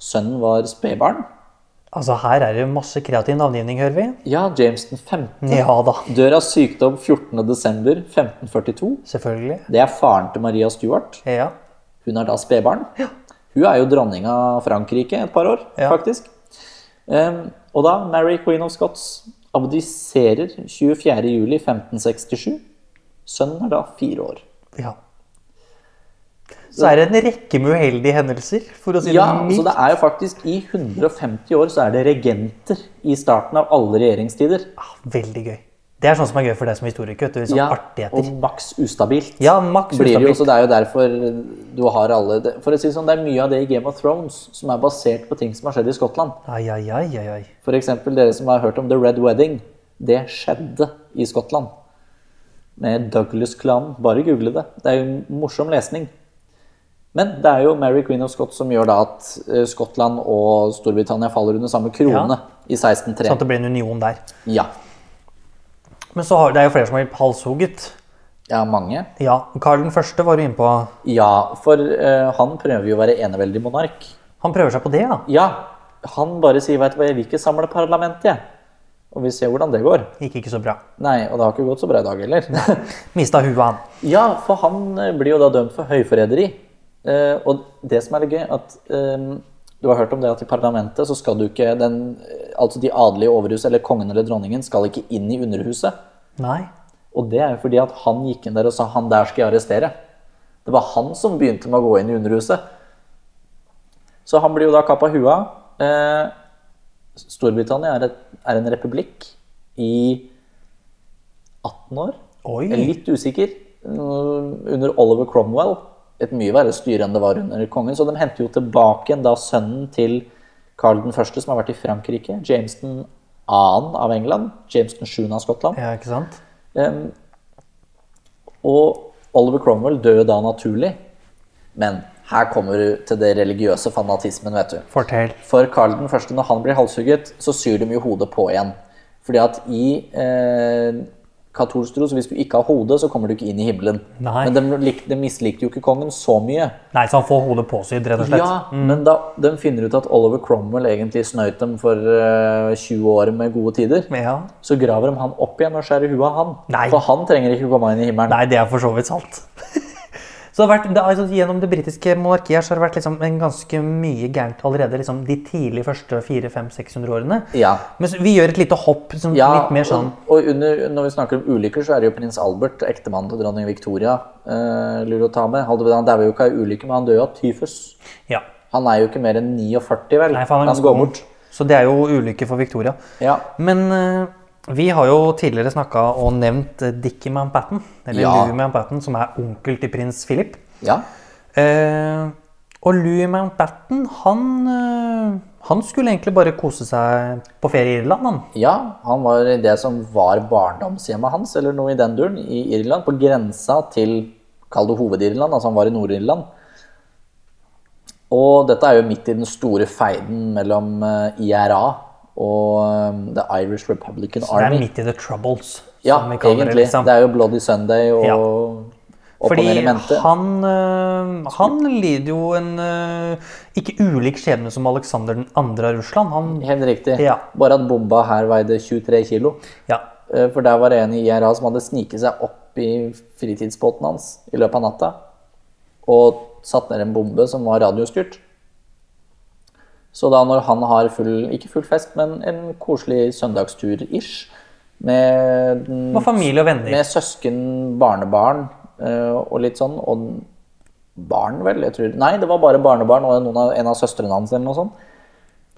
Speaker 1: Sønnen var spedbarn.
Speaker 2: Altså, her er det masse kreativ navngivning, hører vi.
Speaker 1: Ja, James 15.
Speaker 2: Ja da,
Speaker 1: Dør av sykdom 14.12.1542.
Speaker 2: selvfølgelig.
Speaker 1: Det er faren til Maria Stuart.
Speaker 2: Ja.
Speaker 1: Hun er da spedbarn. Hun er jo dronning av Frankrike et par år,
Speaker 2: Ja.
Speaker 1: faktisk. Ehm, og da Mary Queen of Scots abdiserer 24.07.1567. Sønnen er da fire år.
Speaker 2: ja. så er det en rekke med uheldige hendelser, for å si
Speaker 1: Ja,
Speaker 2: det
Speaker 1: så
Speaker 2: mildt.
Speaker 1: det er jo faktisk i 150 år så er det regenter i starten av alle regjeringstider.
Speaker 2: Ah, Veldig gøy. Det er sånn som er gøy for deg som historiker. vet du, sånn
Speaker 1: Ja, og
Speaker 2: artigheter.
Speaker 1: maks ustabilt.
Speaker 2: Ja, maks
Speaker 1: Blir det, jo,
Speaker 2: ustabilt.
Speaker 1: så det er jo derfor du har alle det- For å si det sånn, det er mye av det i Game of Thrones som er basert på ting som har skjedd i Skottland.
Speaker 2: Ai, ai, ai, ai, ai.
Speaker 1: For eksempel dere som har hørt om The Red Wedding. Det skjedde i Skottland. Med Douglas-klanen. Bare google det. Det er jo en morsom lesning. Men det er jo Mary Queen of Scots som gjør da at eh, Skottland og Storbritannia faller under samme krone
Speaker 2: Ja.
Speaker 1: i 1603.
Speaker 2: Sånn at det blir en union der.
Speaker 1: Ja.
Speaker 2: Men så har, det er jo flere som har blitt halshugget.
Speaker 1: Ja, mange.
Speaker 2: Ja, Karl den første var du inne på.
Speaker 1: Ja, for eh, han prøver jo å være eneveldig monark.
Speaker 2: Han prøver seg på det, da.
Speaker 1: Ja, han bare sier vet du hva, jeg vil ikke samle parlament, jeg. Og vi ser hvordan det går.
Speaker 2: Gikk ikke så bra.
Speaker 1: Nei, og det har ikke gått så bra i dag heller.
Speaker 2: Mista huet, han.
Speaker 1: ja, for han eh, blir jo da dømt for høyforræderi. Eh, og det som er litt gøy, at eh, du har hørt om det at i parlamentet så skal du ikke den eh, Altså de adelige i overhuset eller kongen eller dronningen skal ikke inn i underhuset.
Speaker 2: Nei.
Speaker 1: Og det er jo fordi at han gikk inn der og sa 'han der skal jeg arrestere'. Det var han som begynte med å gå inn i underhuset. Så han blir jo da kappa huet av. Eh, Storbritannia er, et, er en republikk i 18 år.
Speaker 2: Oi.
Speaker 1: Jeg er litt usikker. Mm, Under Oliver Cromwell. Et mye verre styre enn det var under kongen. Så de henter jo tilbake igjen da sønnen til Carl 1., som har vært i Frankrike. James 2. av England. James 7. av Skottland.
Speaker 2: Ja, ikke sant?
Speaker 1: Ehm, og Oliver Cromwell dør jo da naturlig. Men her kommer du til det religiøse fanatismen, vet du.
Speaker 2: Fortell.
Speaker 1: For Karl den første, når han blir halshugget, så syr de jo hodet på igjen. Fordi at i eh, katolsk tro, så hvis du ikke har hode, så kommer du ikke inn i himmelen.
Speaker 2: Nei.
Speaker 1: Men de, lik, de mislikte jo ikke kongen så mye.
Speaker 2: Nei, så han får hodet påsydd, rett og slett. Mm.
Speaker 1: Ja, men da de finner ut at Oliver Cromwell egentlig snøyt dem for eh, 20 år med gode tider.
Speaker 2: Ja.
Speaker 1: Så graver de han opp igjen og skjærer huet av han.
Speaker 2: Nei.
Speaker 1: For han trenger ikke komme inn i himmelen.
Speaker 2: Nei, det er for så vidt sant. så det har vært, det, er altså, Gjennom det britiske monarkiet så har det vært liksom, en ganske mye gærent allerede liksom, de tidlig første 400-500-600 årene.
Speaker 1: Ja.
Speaker 2: Men så, vi gjør et lite hopp. Liksom,
Speaker 1: Ja,
Speaker 2: litt mer sånn
Speaker 1: og, og under, når vi snakker om ulykker, så er det jo prins Albert, ektemannen til dronning Victoria, eh, lurer å ta med. Halvdan, Han dauer jo ikke av ulykke, men han dør jo av tyfus.
Speaker 2: Ja.
Speaker 1: Han er jo ikke mer enn 49, vel?
Speaker 2: Nei, for han er ganske
Speaker 1: går
Speaker 2: ung.
Speaker 1: bort.
Speaker 2: Så det er jo ulykke for Victoria.
Speaker 1: Ja.
Speaker 2: Men eh, vi har jo tidligere snakka og nevnt eh, Dickie Manpatten, eller
Speaker 1: Ja.
Speaker 2: Louis Manpatten, som er onkel til prins Philip.
Speaker 1: ja.
Speaker 2: Eh, og Louis Mountbatten, han, eh, han skulle egentlig bare kose seg på ferie i Irland, han.
Speaker 1: Ja, han var i det som var barndomshjemmet hans, eller noe i den duren, i Irland. På grensa til, kall det hoved-Irland, altså han var i Nord-Irland. Og dette er jo midt i den store feiden mellom eh, IRA og eh, The Irish Republican
Speaker 2: Det er
Speaker 1: Army.
Speaker 2: midt i the troubles.
Speaker 1: Ja,
Speaker 2: som vi kaller
Speaker 1: egentlig. Det,
Speaker 2: liksom.
Speaker 1: er jo Bloody Sunday og
Speaker 2: Ja.
Speaker 1: opp og
Speaker 2: Fordi
Speaker 1: ned i mente.
Speaker 2: han, eh, han lider jo en eh, ikke ulik skjebne som Alexander 2. av Russland. Han,
Speaker 1: Helt riktig.
Speaker 2: Ja.
Speaker 1: Bare at bomba her veide 23 kilo.
Speaker 2: ja,
Speaker 1: Eh, For der var det en i IRA som hadde sniket seg opp i fritidsbåten hans i løpet av natta. Og satt ned en bombe som var radiostyrt. Så da når han har full, ikke full fest, men en koselig søndagstur-ish med den
Speaker 2: var familie og venner.
Speaker 1: Med søsken, barnebarn eh, og litt sånn. Og barn, vel? jeg tror. Nei, det var bare barnebarn og noen av, en av søstrene hans. eller noe sånt.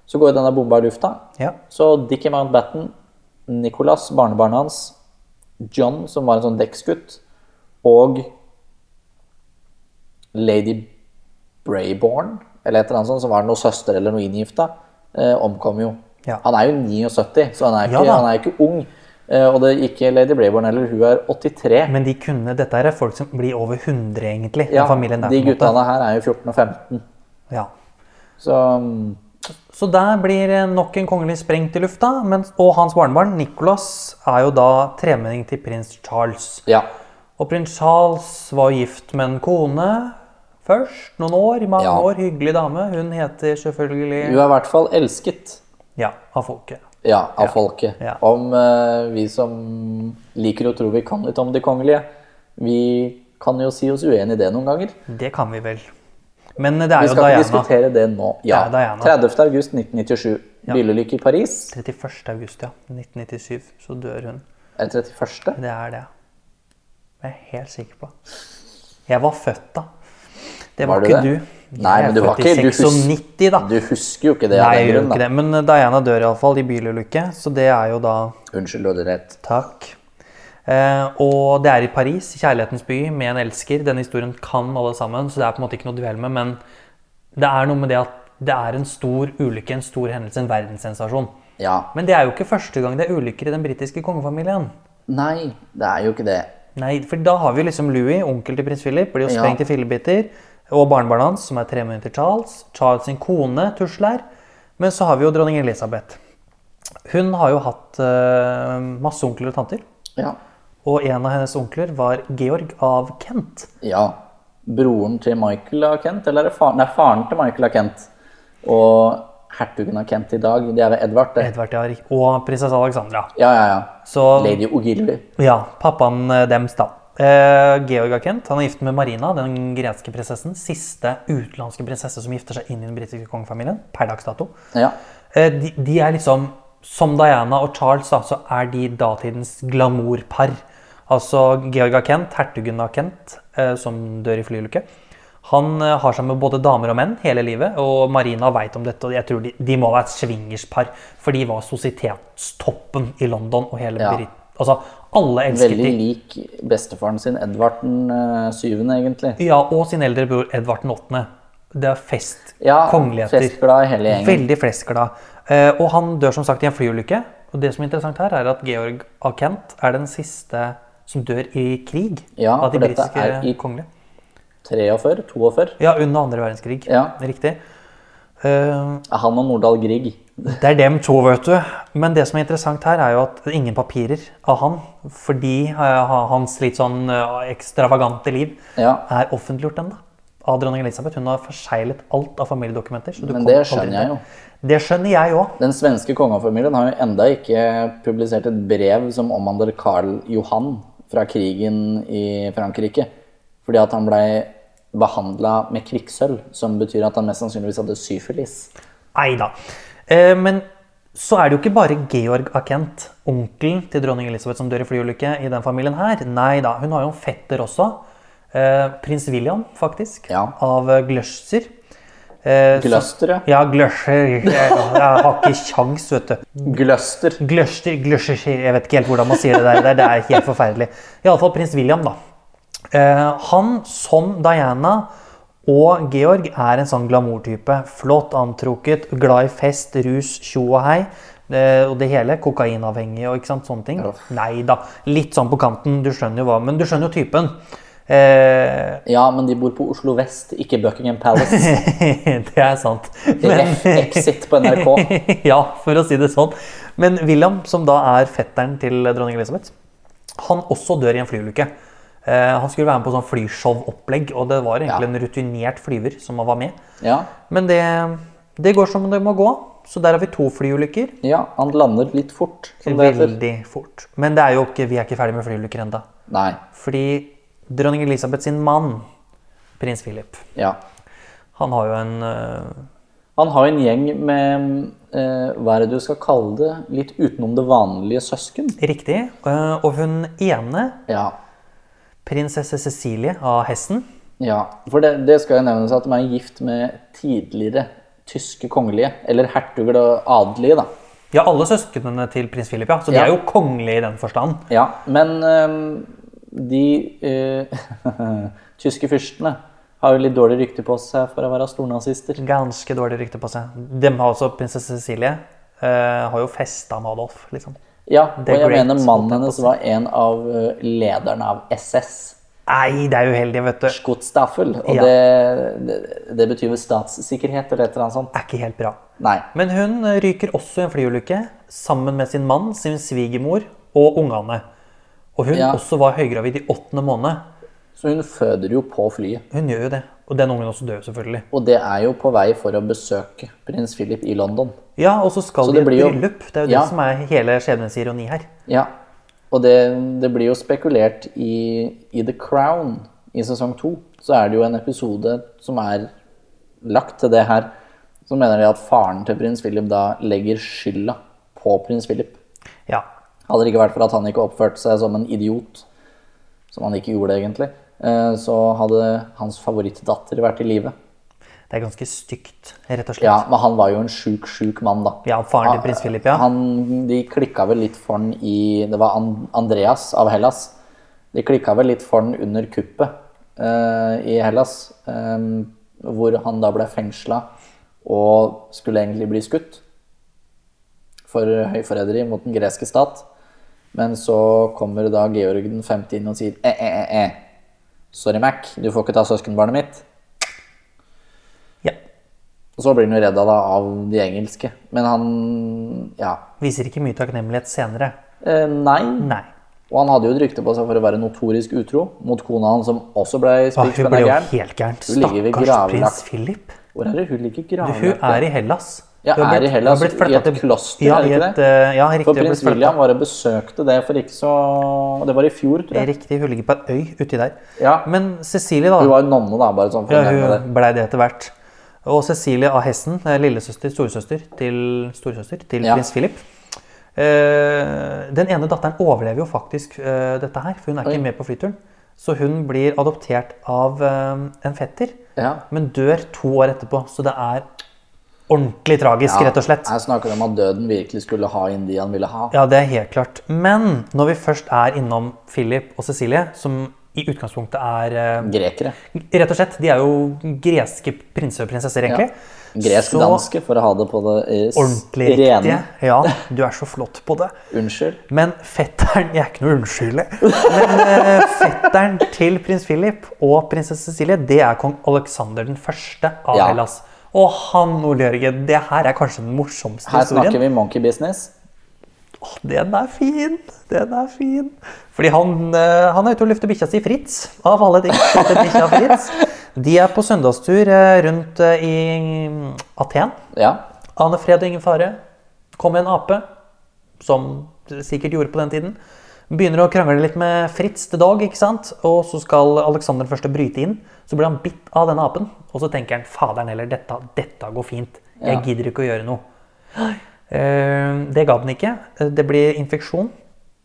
Speaker 1: Så går denne bomba i lufta.
Speaker 2: Ja.
Speaker 1: Så Dickie Mountbatten, Nicholas, barnebarnet hans, John, som var en sånn dekksgutt, og Lady Brayborn, eller et eller annet sånt, som var noe søster eller noe inngifta, eh, omkom jo.
Speaker 2: Ja.
Speaker 1: Han er jo 79, så han er
Speaker 2: Ja
Speaker 1: ikke,
Speaker 2: da.
Speaker 1: han er ikke ung. Eh, og det er ikke Lady Brayborn heller, hun er 83.
Speaker 2: Men de kunne, dette er folk som blir over 100, egentlig. den
Speaker 1: Ja,
Speaker 2: familien der,
Speaker 1: de
Speaker 2: på en måte.
Speaker 1: guttene her er jo 14 og 15.
Speaker 2: Ja.
Speaker 1: Så mm,
Speaker 2: Så der blir eh, nok en kongelig sprengt i lufta. Mens, og hans barnebarn Nicholas er jo da tremenning til prins Charles.
Speaker 1: ja.
Speaker 2: Og prins Charles var gift med en kone først, noen år, mange
Speaker 1: Ja.
Speaker 2: år, hyggelig dame. Hun heter selvfølgelig
Speaker 1: Hun er i hvert fall elsket.
Speaker 2: Ja, av folket.
Speaker 1: Ja, av folket.
Speaker 2: ja.
Speaker 1: Om eh, vi som liker å tro vi kan litt om de kongelige. Vi kan jo si oss uenig i det noen ganger.
Speaker 2: Det kan vi vel. Men eh, det er
Speaker 1: Vi
Speaker 2: jo
Speaker 1: skal ikke
Speaker 2: Diana.
Speaker 1: diskutere det nå. Ja,
Speaker 2: Det er Diana.
Speaker 1: 30. august 1997. Byllelykke i Paris.
Speaker 2: 31. august, ja. 1997. Så dør hun.
Speaker 1: Er det 31.?
Speaker 2: Det er det. Det er jeg helt sikker på. Jeg var født da. Det var,
Speaker 1: Var du
Speaker 2: ikke
Speaker 1: det?
Speaker 2: du.
Speaker 1: Nei, men du var ikke- du
Speaker 2: Jeg er født i
Speaker 1: hus-
Speaker 2: 96, da.
Speaker 1: Du husker jo ikke det. av
Speaker 2: Nei, jeg
Speaker 1: den
Speaker 2: gjør
Speaker 1: grunn,
Speaker 2: jo ikke
Speaker 1: da.
Speaker 2: det. Men eh, Diana dør iallfall i bilulykke, så det er jo da
Speaker 1: Unnskyld, du hadde rett.
Speaker 2: Takk. Eh, og det er i Paris, i kjærlighetens by, med en elsker. Denne historien kan alle sammen, så det er på en måte ikke noe å dvele med. Men det er noe med det at det er en stor ulykke, en stor hendelse, en verdenssensasjon.
Speaker 1: Ja.
Speaker 2: Men det er jo ikke første gang det er ulykker i den britiske kongefamilien.
Speaker 1: Nei, det er jo ikke det.
Speaker 2: Nei, for da har vi jo liksom Louis, onkel til prins Philip, blir jo
Speaker 1: Ja.
Speaker 2: sprengt i fillebiter. Og barnebarnet hans, som er tre måneder til Charles. Charles sin kone tusler. Men så har vi jo dronning Elisabeth. Hun har jo hatt eh, masse onkler og tanter.
Speaker 1: Ja.
Speaker 2: Og en av hennes onkler var Georg av Kent.
Speaker 1: ja. Broren til Michael av Kent, eller er det faren? Nei, faren til Michael av Kent. Og hertugen av Kent i dag, det er ved Edvard, det.
Speaker 2: Edvard Jarr og prinsesse Alexandra.
Speaker 1: Ja, ja, ja.
Speaker 2: Så
Speaker 1: Lady Ogilvy.
Speaker 2: ja, pappaen eh, dems, da. Eh, Georg av Kent han er gift med Marina, den greske prinsessen. Siste utenlandske prinsesse som gifter seg inn i den britiske kongefamilien. per dags dato.
Speaker 1: Ja.
Speaker 2: Eh, de, de er liksom, som Diana og Charles, da, så er de datidens glamourpar. Altså Georg av Kent, hertugen av Kent, eh, som dør i flyulykke. Han eh, har seg med både damer og menn hele livet, og Marina veit om dette. og jeg tror De, de må være et swingerspar, for de var sosietetstoppen i London. og hele
Speaker 1: Ja.
Speaker 2: Brit... Altså, alle elsket
Speaker 1: Veldig
Speaker 2: de.
Speaker 1: lik bestefaren sin, Edvard den eh, syvende, egentlig.
Speaker 2: Ja, og sin eldre bror Edvard den 8. Det er fest.
Speaker 1: Ja,
Speaker 2: kongeligheter.
Speaker 1: festglad i hele gjengen.
Speaker 2: Veldig fleskglad. Eh, og han dør som sagt i en flyulykke. Og det som er interessant her, er at Georg av Kent er den siste som dør i krig.
Speaker 1: Ja,
Speaker 2: av de
Speaker 1: for dette
Speaker 2: britiske
Speaker 1: er i-
Speaker 2: kongelige.
Speaker 1: 43, 42.
Speaker 2: Ja, under andre verdenskrig.
Speaker 1: Ja.
Speaker 2: Riktig. Eh,
Speaker 1: Han og Nordahl Grieg.
Speaker 2: det er dem to, vet du. Men det som er interessant her, er jo at det er ingen papirer av han. Fordi eh, hans litt sånn eh, ekstravagante liv
Speaker 1: Ja.
Speaker 2: er offentliggjort ennå. Av dronning Elisabeth. Hun har forseglet alt av familiedokumenter. Så du
Speaker 1: Men
Speaker 2: kommer
Speaker 1: det
Speaker 2: aldri
Speaker 1: skjønner jeg
Speaker 2: til-
Speaker 1: jo.
Speaker 2: Det skjønner jeg òg.
Speaker 1: Den svenske kongefamilien har jo enda ikke publisert et brev som omhandler Karl Johan fra krigen i Frankrike. Fordi at han blei behandla med kvikksølv, som betyr at han mest sannsynligvis hadde syfilis.
Speaker 2: Nei da. Eh, men så er det jo ikke bare Georg av Kent, onkelen til dronning Elisabeth, som dør i flyulykke i den familien her. Nei da. Hun har jo en fetter også. Eh, prins William, faktisk.
Speaker 1: Ja.
Speaker 2: Av eh, Gloucester. Eh, så-
Speaker 1: Gloucester, ja.
Speaker 2: Ja, Gloucester. Jeg, jeg har ikke kjangs, vet du.
Speaker 1: Gloucester.
Speaker 2: Gløster, gløsjer, jeg vet ikke helt hvordan man sier det der. Det er, det er helt forferdelig. Iallfall prins William, da. Eh, han, som Diana og Georg, er en sånn glamourtype. Flott antrukket, glad i fest, rus, tjo og hei. Eh, og det hele. Kokainavhengig og ikke sant, sånne ting. Nei da. Litt sånn på kanten, du skjønner jo hva. Men du skjønner jo typen. Eh,
Speaker 1: Ja, men de bor på Oslo vest, ikke Buckingham Palace.
Speaker 2: det er sant.
Speaker 1: Ref Exit på NRK.
Speaker 2: ja, for å si det sånn. Men William, som da er fetteren til dronning Elisabeth, han også dør i en flyulykke. Eh, han skulle være med på sånn flyshow-opplegg, og det var egentlig en rutinert flyver som var med.
Speaker 1: Ja,
Speaker 2: Men det, det går som det må gå, så der har vi to flyulykker.
Speaker 1: ja, han lander litt fort, som det heter.
Speaker 2: Veldig fort. Men det er jo ikke, vi er ikke ferdig med flyulykker enda.
Speaker 1: Nei.
Speaker 2: Fordi dronning Elisabeth sin mann, prins Philip,
Speaker 1: Ja.
Speaker 2: han har jo en eh,
Speaker 1: Han har en gjeng med eh, hva er det du skal kalle det, litt utenom det vanlige søsken.
Speaker 2: riktig, eh, og hun ene,
Speaker 1: Ja,
Speaker 2: prinsesse Cecilie av Hessen,
Speaker 1: Ja, for det, det skal jo nevnes at de er gift med tidligere tyske kongelige, eller hertuger og adelige, da.
Speaker 2: Ja, alle søsknene til prins Philip, ja. Så de
Speaker 1: Ja.
Speaker 2: er jo kongelige i den forstand.
Speaker 1: Ja, men øhm, de øh, tyske fyrstene har jo litt dårlig rykte på seg for å være stornazister.
Speaker 2: Ganske dårlig rykte på seg. Dem har også prinsesse Cecilie. eh, har jo festa med Adolf, liksom.
Speaker 1: Ja, og
Speaker 2: The
Speaker 1: jeg
Speaker 2: Great,
Speaker 1: mener mannen
Speaker 2: holdt
Speaker 1: hennes
Speaker 2: jeg på å
Speaker 1: var en av øh, lederne av SS,
Speaker 2: Nei, det er uheldig, vet du.
Speaker 1: Godstaffel, og
Speaker 2: Ja.
Speaker 1: det, det, det betyr vel statssikkerhet eller et eller annet sånt.
Speaker 2: Er ikke helt bra.
Speaker 1: Nei.
Speaker 2: Men hun ryker også i en flyulykke sammen med sin mann, sin svigermor og ungene. Og hun
Speaker 1: Ja.
Speaker 2: også var høygravid i åttende måned.
Speaker 1: Så hun føder jo på flyet.
Speaker 2: Hun gjør jo det. Og den ungen også dør, jo selvfølgelig.
Speaker 1: Og det er jo på vei for å besøke prins Philip i London.
Speaker 2: Ja, og så skal
Speaker 1: Så
Speaker 2: de i
Speaker 1: det
Speaker 2: et
Speaker 1: blir jo-
Speaker 2: bryllup. Det er jo
Speaker 1: Ja.
Speaker 2: det som er hele skjebnens ironi her.
Speaker 1: Ja, og det, det blir jo spekulert i, i The Crown i sesong to. Så er det jo en episode som er lagt til det her. Så mener de at faren til prins Philip da legger skylda på prins Philip.
Speaker 2: Ja.
Speaker 1: Hadde det ikke vært for at han ikke oppførte seg som en idiot, som han ikke gjorde egentlig, eh, så hadde hans favorittdatter vært i live.
Speaker 2: Det er ganske stygt, rett og slett.
Speaker 1: Ja, men han var jo en sjuk, sjuk mann, da.
Speaker 2: Ja, faren til prins Philip, ja.
Speaker 1: Han, de klikka vel litt for han i Det var An- Andreas av Hellas. De klikka vel litt for han under kuppet eh, i Hellas, eh, hvor han da ble fengsla og skulle egentlig bli skutt for høyforræderi mot den greske stat. Men så kommer da Georg den femte inn og sier eh, eh, eh, eh. Sorry, Mac, du får ikke ta søskenbarnet mitt.
Speaker 2: ja.
Speaker 1: Og så blir han jo redda da av de engelske. Men han Ja.
Speaker 2: Viser ikke mye takknemlighet senere.
Speaker 1: Eh, nei.
Speaker 2: Nei.
Speaker 1: Og han hadde jo et rykte på seg for å være notorisk utro mot kona hans, som også ble
Speaker 2: Ah, hun ble
Speaker 1: sprikspenna
Speaker 2: jo
Speaker 1: gæren.
Speaker 2: helt gærent.
Speaker 1: Hun ligger ved
Speaker 2: Stakkars prins
Speaker 1: gravlagt.
Speaker 2: Philip.
Speaker 1: Hvor er det hun ligger
Speaker 2: Hun
Speaker 1: gravlagt?
Speaker 2: er i Hellas.
Speaker 1: Ja,
Speaker 2: Hun har
Speaker 1: er i
Speaker 2: blitt- hun har
Speaker 1: Hellas,
Speaker 2: blitt
Speaker 1: i et
Speaker 2: flyttet til-
Speaker 1: kloster,
Speaker 2: ja,
Speaker 1: er det
Speaker 2: i
Speaker 1: ikke
Speaker 2: et,
Speaker 1: det?
Speaker 2: eh, Ja, riktig.
Speaker 1: For
Speaker 2: hun ble
Speaker 1: prins
Speaker 2: flyttet-
Speaker 1: William var og besøkte det for ikke så Det var i fjor, tror jeg.
Speaker 2: Riktig, hun ligger på en øy uti der.
Speaker 1: Ja.
Speaker 2: Men Cecilie, da.
Speaker 1: Hun var jo nonne, da, bare sånn for å nevne
Speaker 2: Ja,
Speaker 1: det.
Speaker 2: hun blei det etter hvert. Og Cecilie av Hessen, eh, lillesøster, storesøster til, storesøster til
Speaker 1: Ja.
Speaker 2: prins Philip. Eh, den ene datteren overlever jo faktisk eh, dette her, for hun er ikke
Speaker 1: Oi.
Speaker 2: med på flyturen. Så hun blir adoptert av eh, en fetter,
Speaker 1: Ja.
Speaker 2: men dør to år etterpå. Så det er ordentlig tragisk,
Speaker 1: Ja,
Speaker 2: rett og slett.
Speaker 1: Her snakker de om at døden virkelig skulle ha inn de han ville ha.
Speaker 2: Ja, det er helt klart. Men når vi først er innom Philip og Cecilie, som i utgangspunktet er eh,
Speaker 1: Grekere.
Speaker 2: Rett og slett, de er jo greske prinser og prinsesser, egentlig. Så
Speaker 1: Gresk-danske, for å ha det på det eh, s-
Speaker 2: ordentlig riktige.
Speaker 1: rene.
Speaker 2: Ja, du er så flott på det.
Speaker 1: Unnskyld.
Speaker 2: Men fetteren Jeg er ikke noe unnskyldig. Men eh, fetteren til prins Philip og prinsesse Cecilie, det er kong Alexander den første av
Speaker 1: Ja.
Speaker 2: Hellas. Og han, Ole Jørgen, det her er kanskje den morsomste
Speaker 1: Her
Speaker 2: historien.
Speaker 1: snakker vi monkey business.
Speaker 2: Åh, den er fin! Den er fin. Fordi han, eh, han er ute og lufter bikkja si Fritz, av alle ting. Katten Bikkja Fritz. De er på søndagstur eh, rundt eh, i Aten.
Speaker 1: Ja.
Speaker 2: Ane fred og ingen fare. Kom en ape, som det sikkert gjorde på den tiden. Begynner å krangle litt med Fritz til dag, ikke sant? og så skal Alexander først bryte inn. Så blir han bitt av denne apen, og så tenker han faderen heller, dette, dette går fint. Jeg
Speaker 1: Ja.
Speaker 2: gidder ikke å gjøre noe. Eh, Det ga den ikke. Eh, Det blir infeksjon.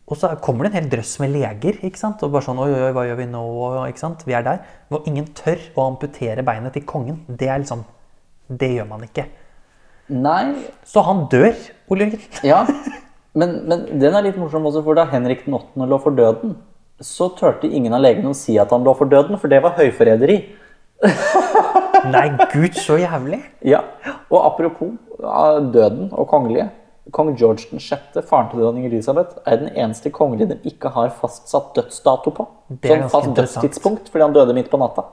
Speaker 2: Og så kommer det en hel drøss med leger. ikke sant? Og bare sånn, oi, oi, oi, hva gjør vi nå? ikke sant? Vi er der. Og ingen tør å amputere beinet til kongen. Det er liksom, det gjør man ikke.
Speaker 1: Nei,
Speaker 2: Så han dør, Ole Jørgen.
Speaker 1: Ja, men, men den er litt morsom også, for da Henrik den 8. lå for døden, så tørte ingen av legene å si at han lå for døden, for det var høyforræderi.
Speaker 2: Nei, gud, så jævlig.
Speaker 1: Ja. Og apropos ah, døden og kongelige. Kong George den 6., faren til dronning Elisabeth, er den eneste kongelige de ikke har fastsatt dødsdato på.
Speaker 2: Det er
Speaker 1: Sånn
Speaker 2: ganske
Speaker 1: fast
Speaker 2: interessant.
Speaker 1: dødstidspunkt, fordi han døde midt på natta.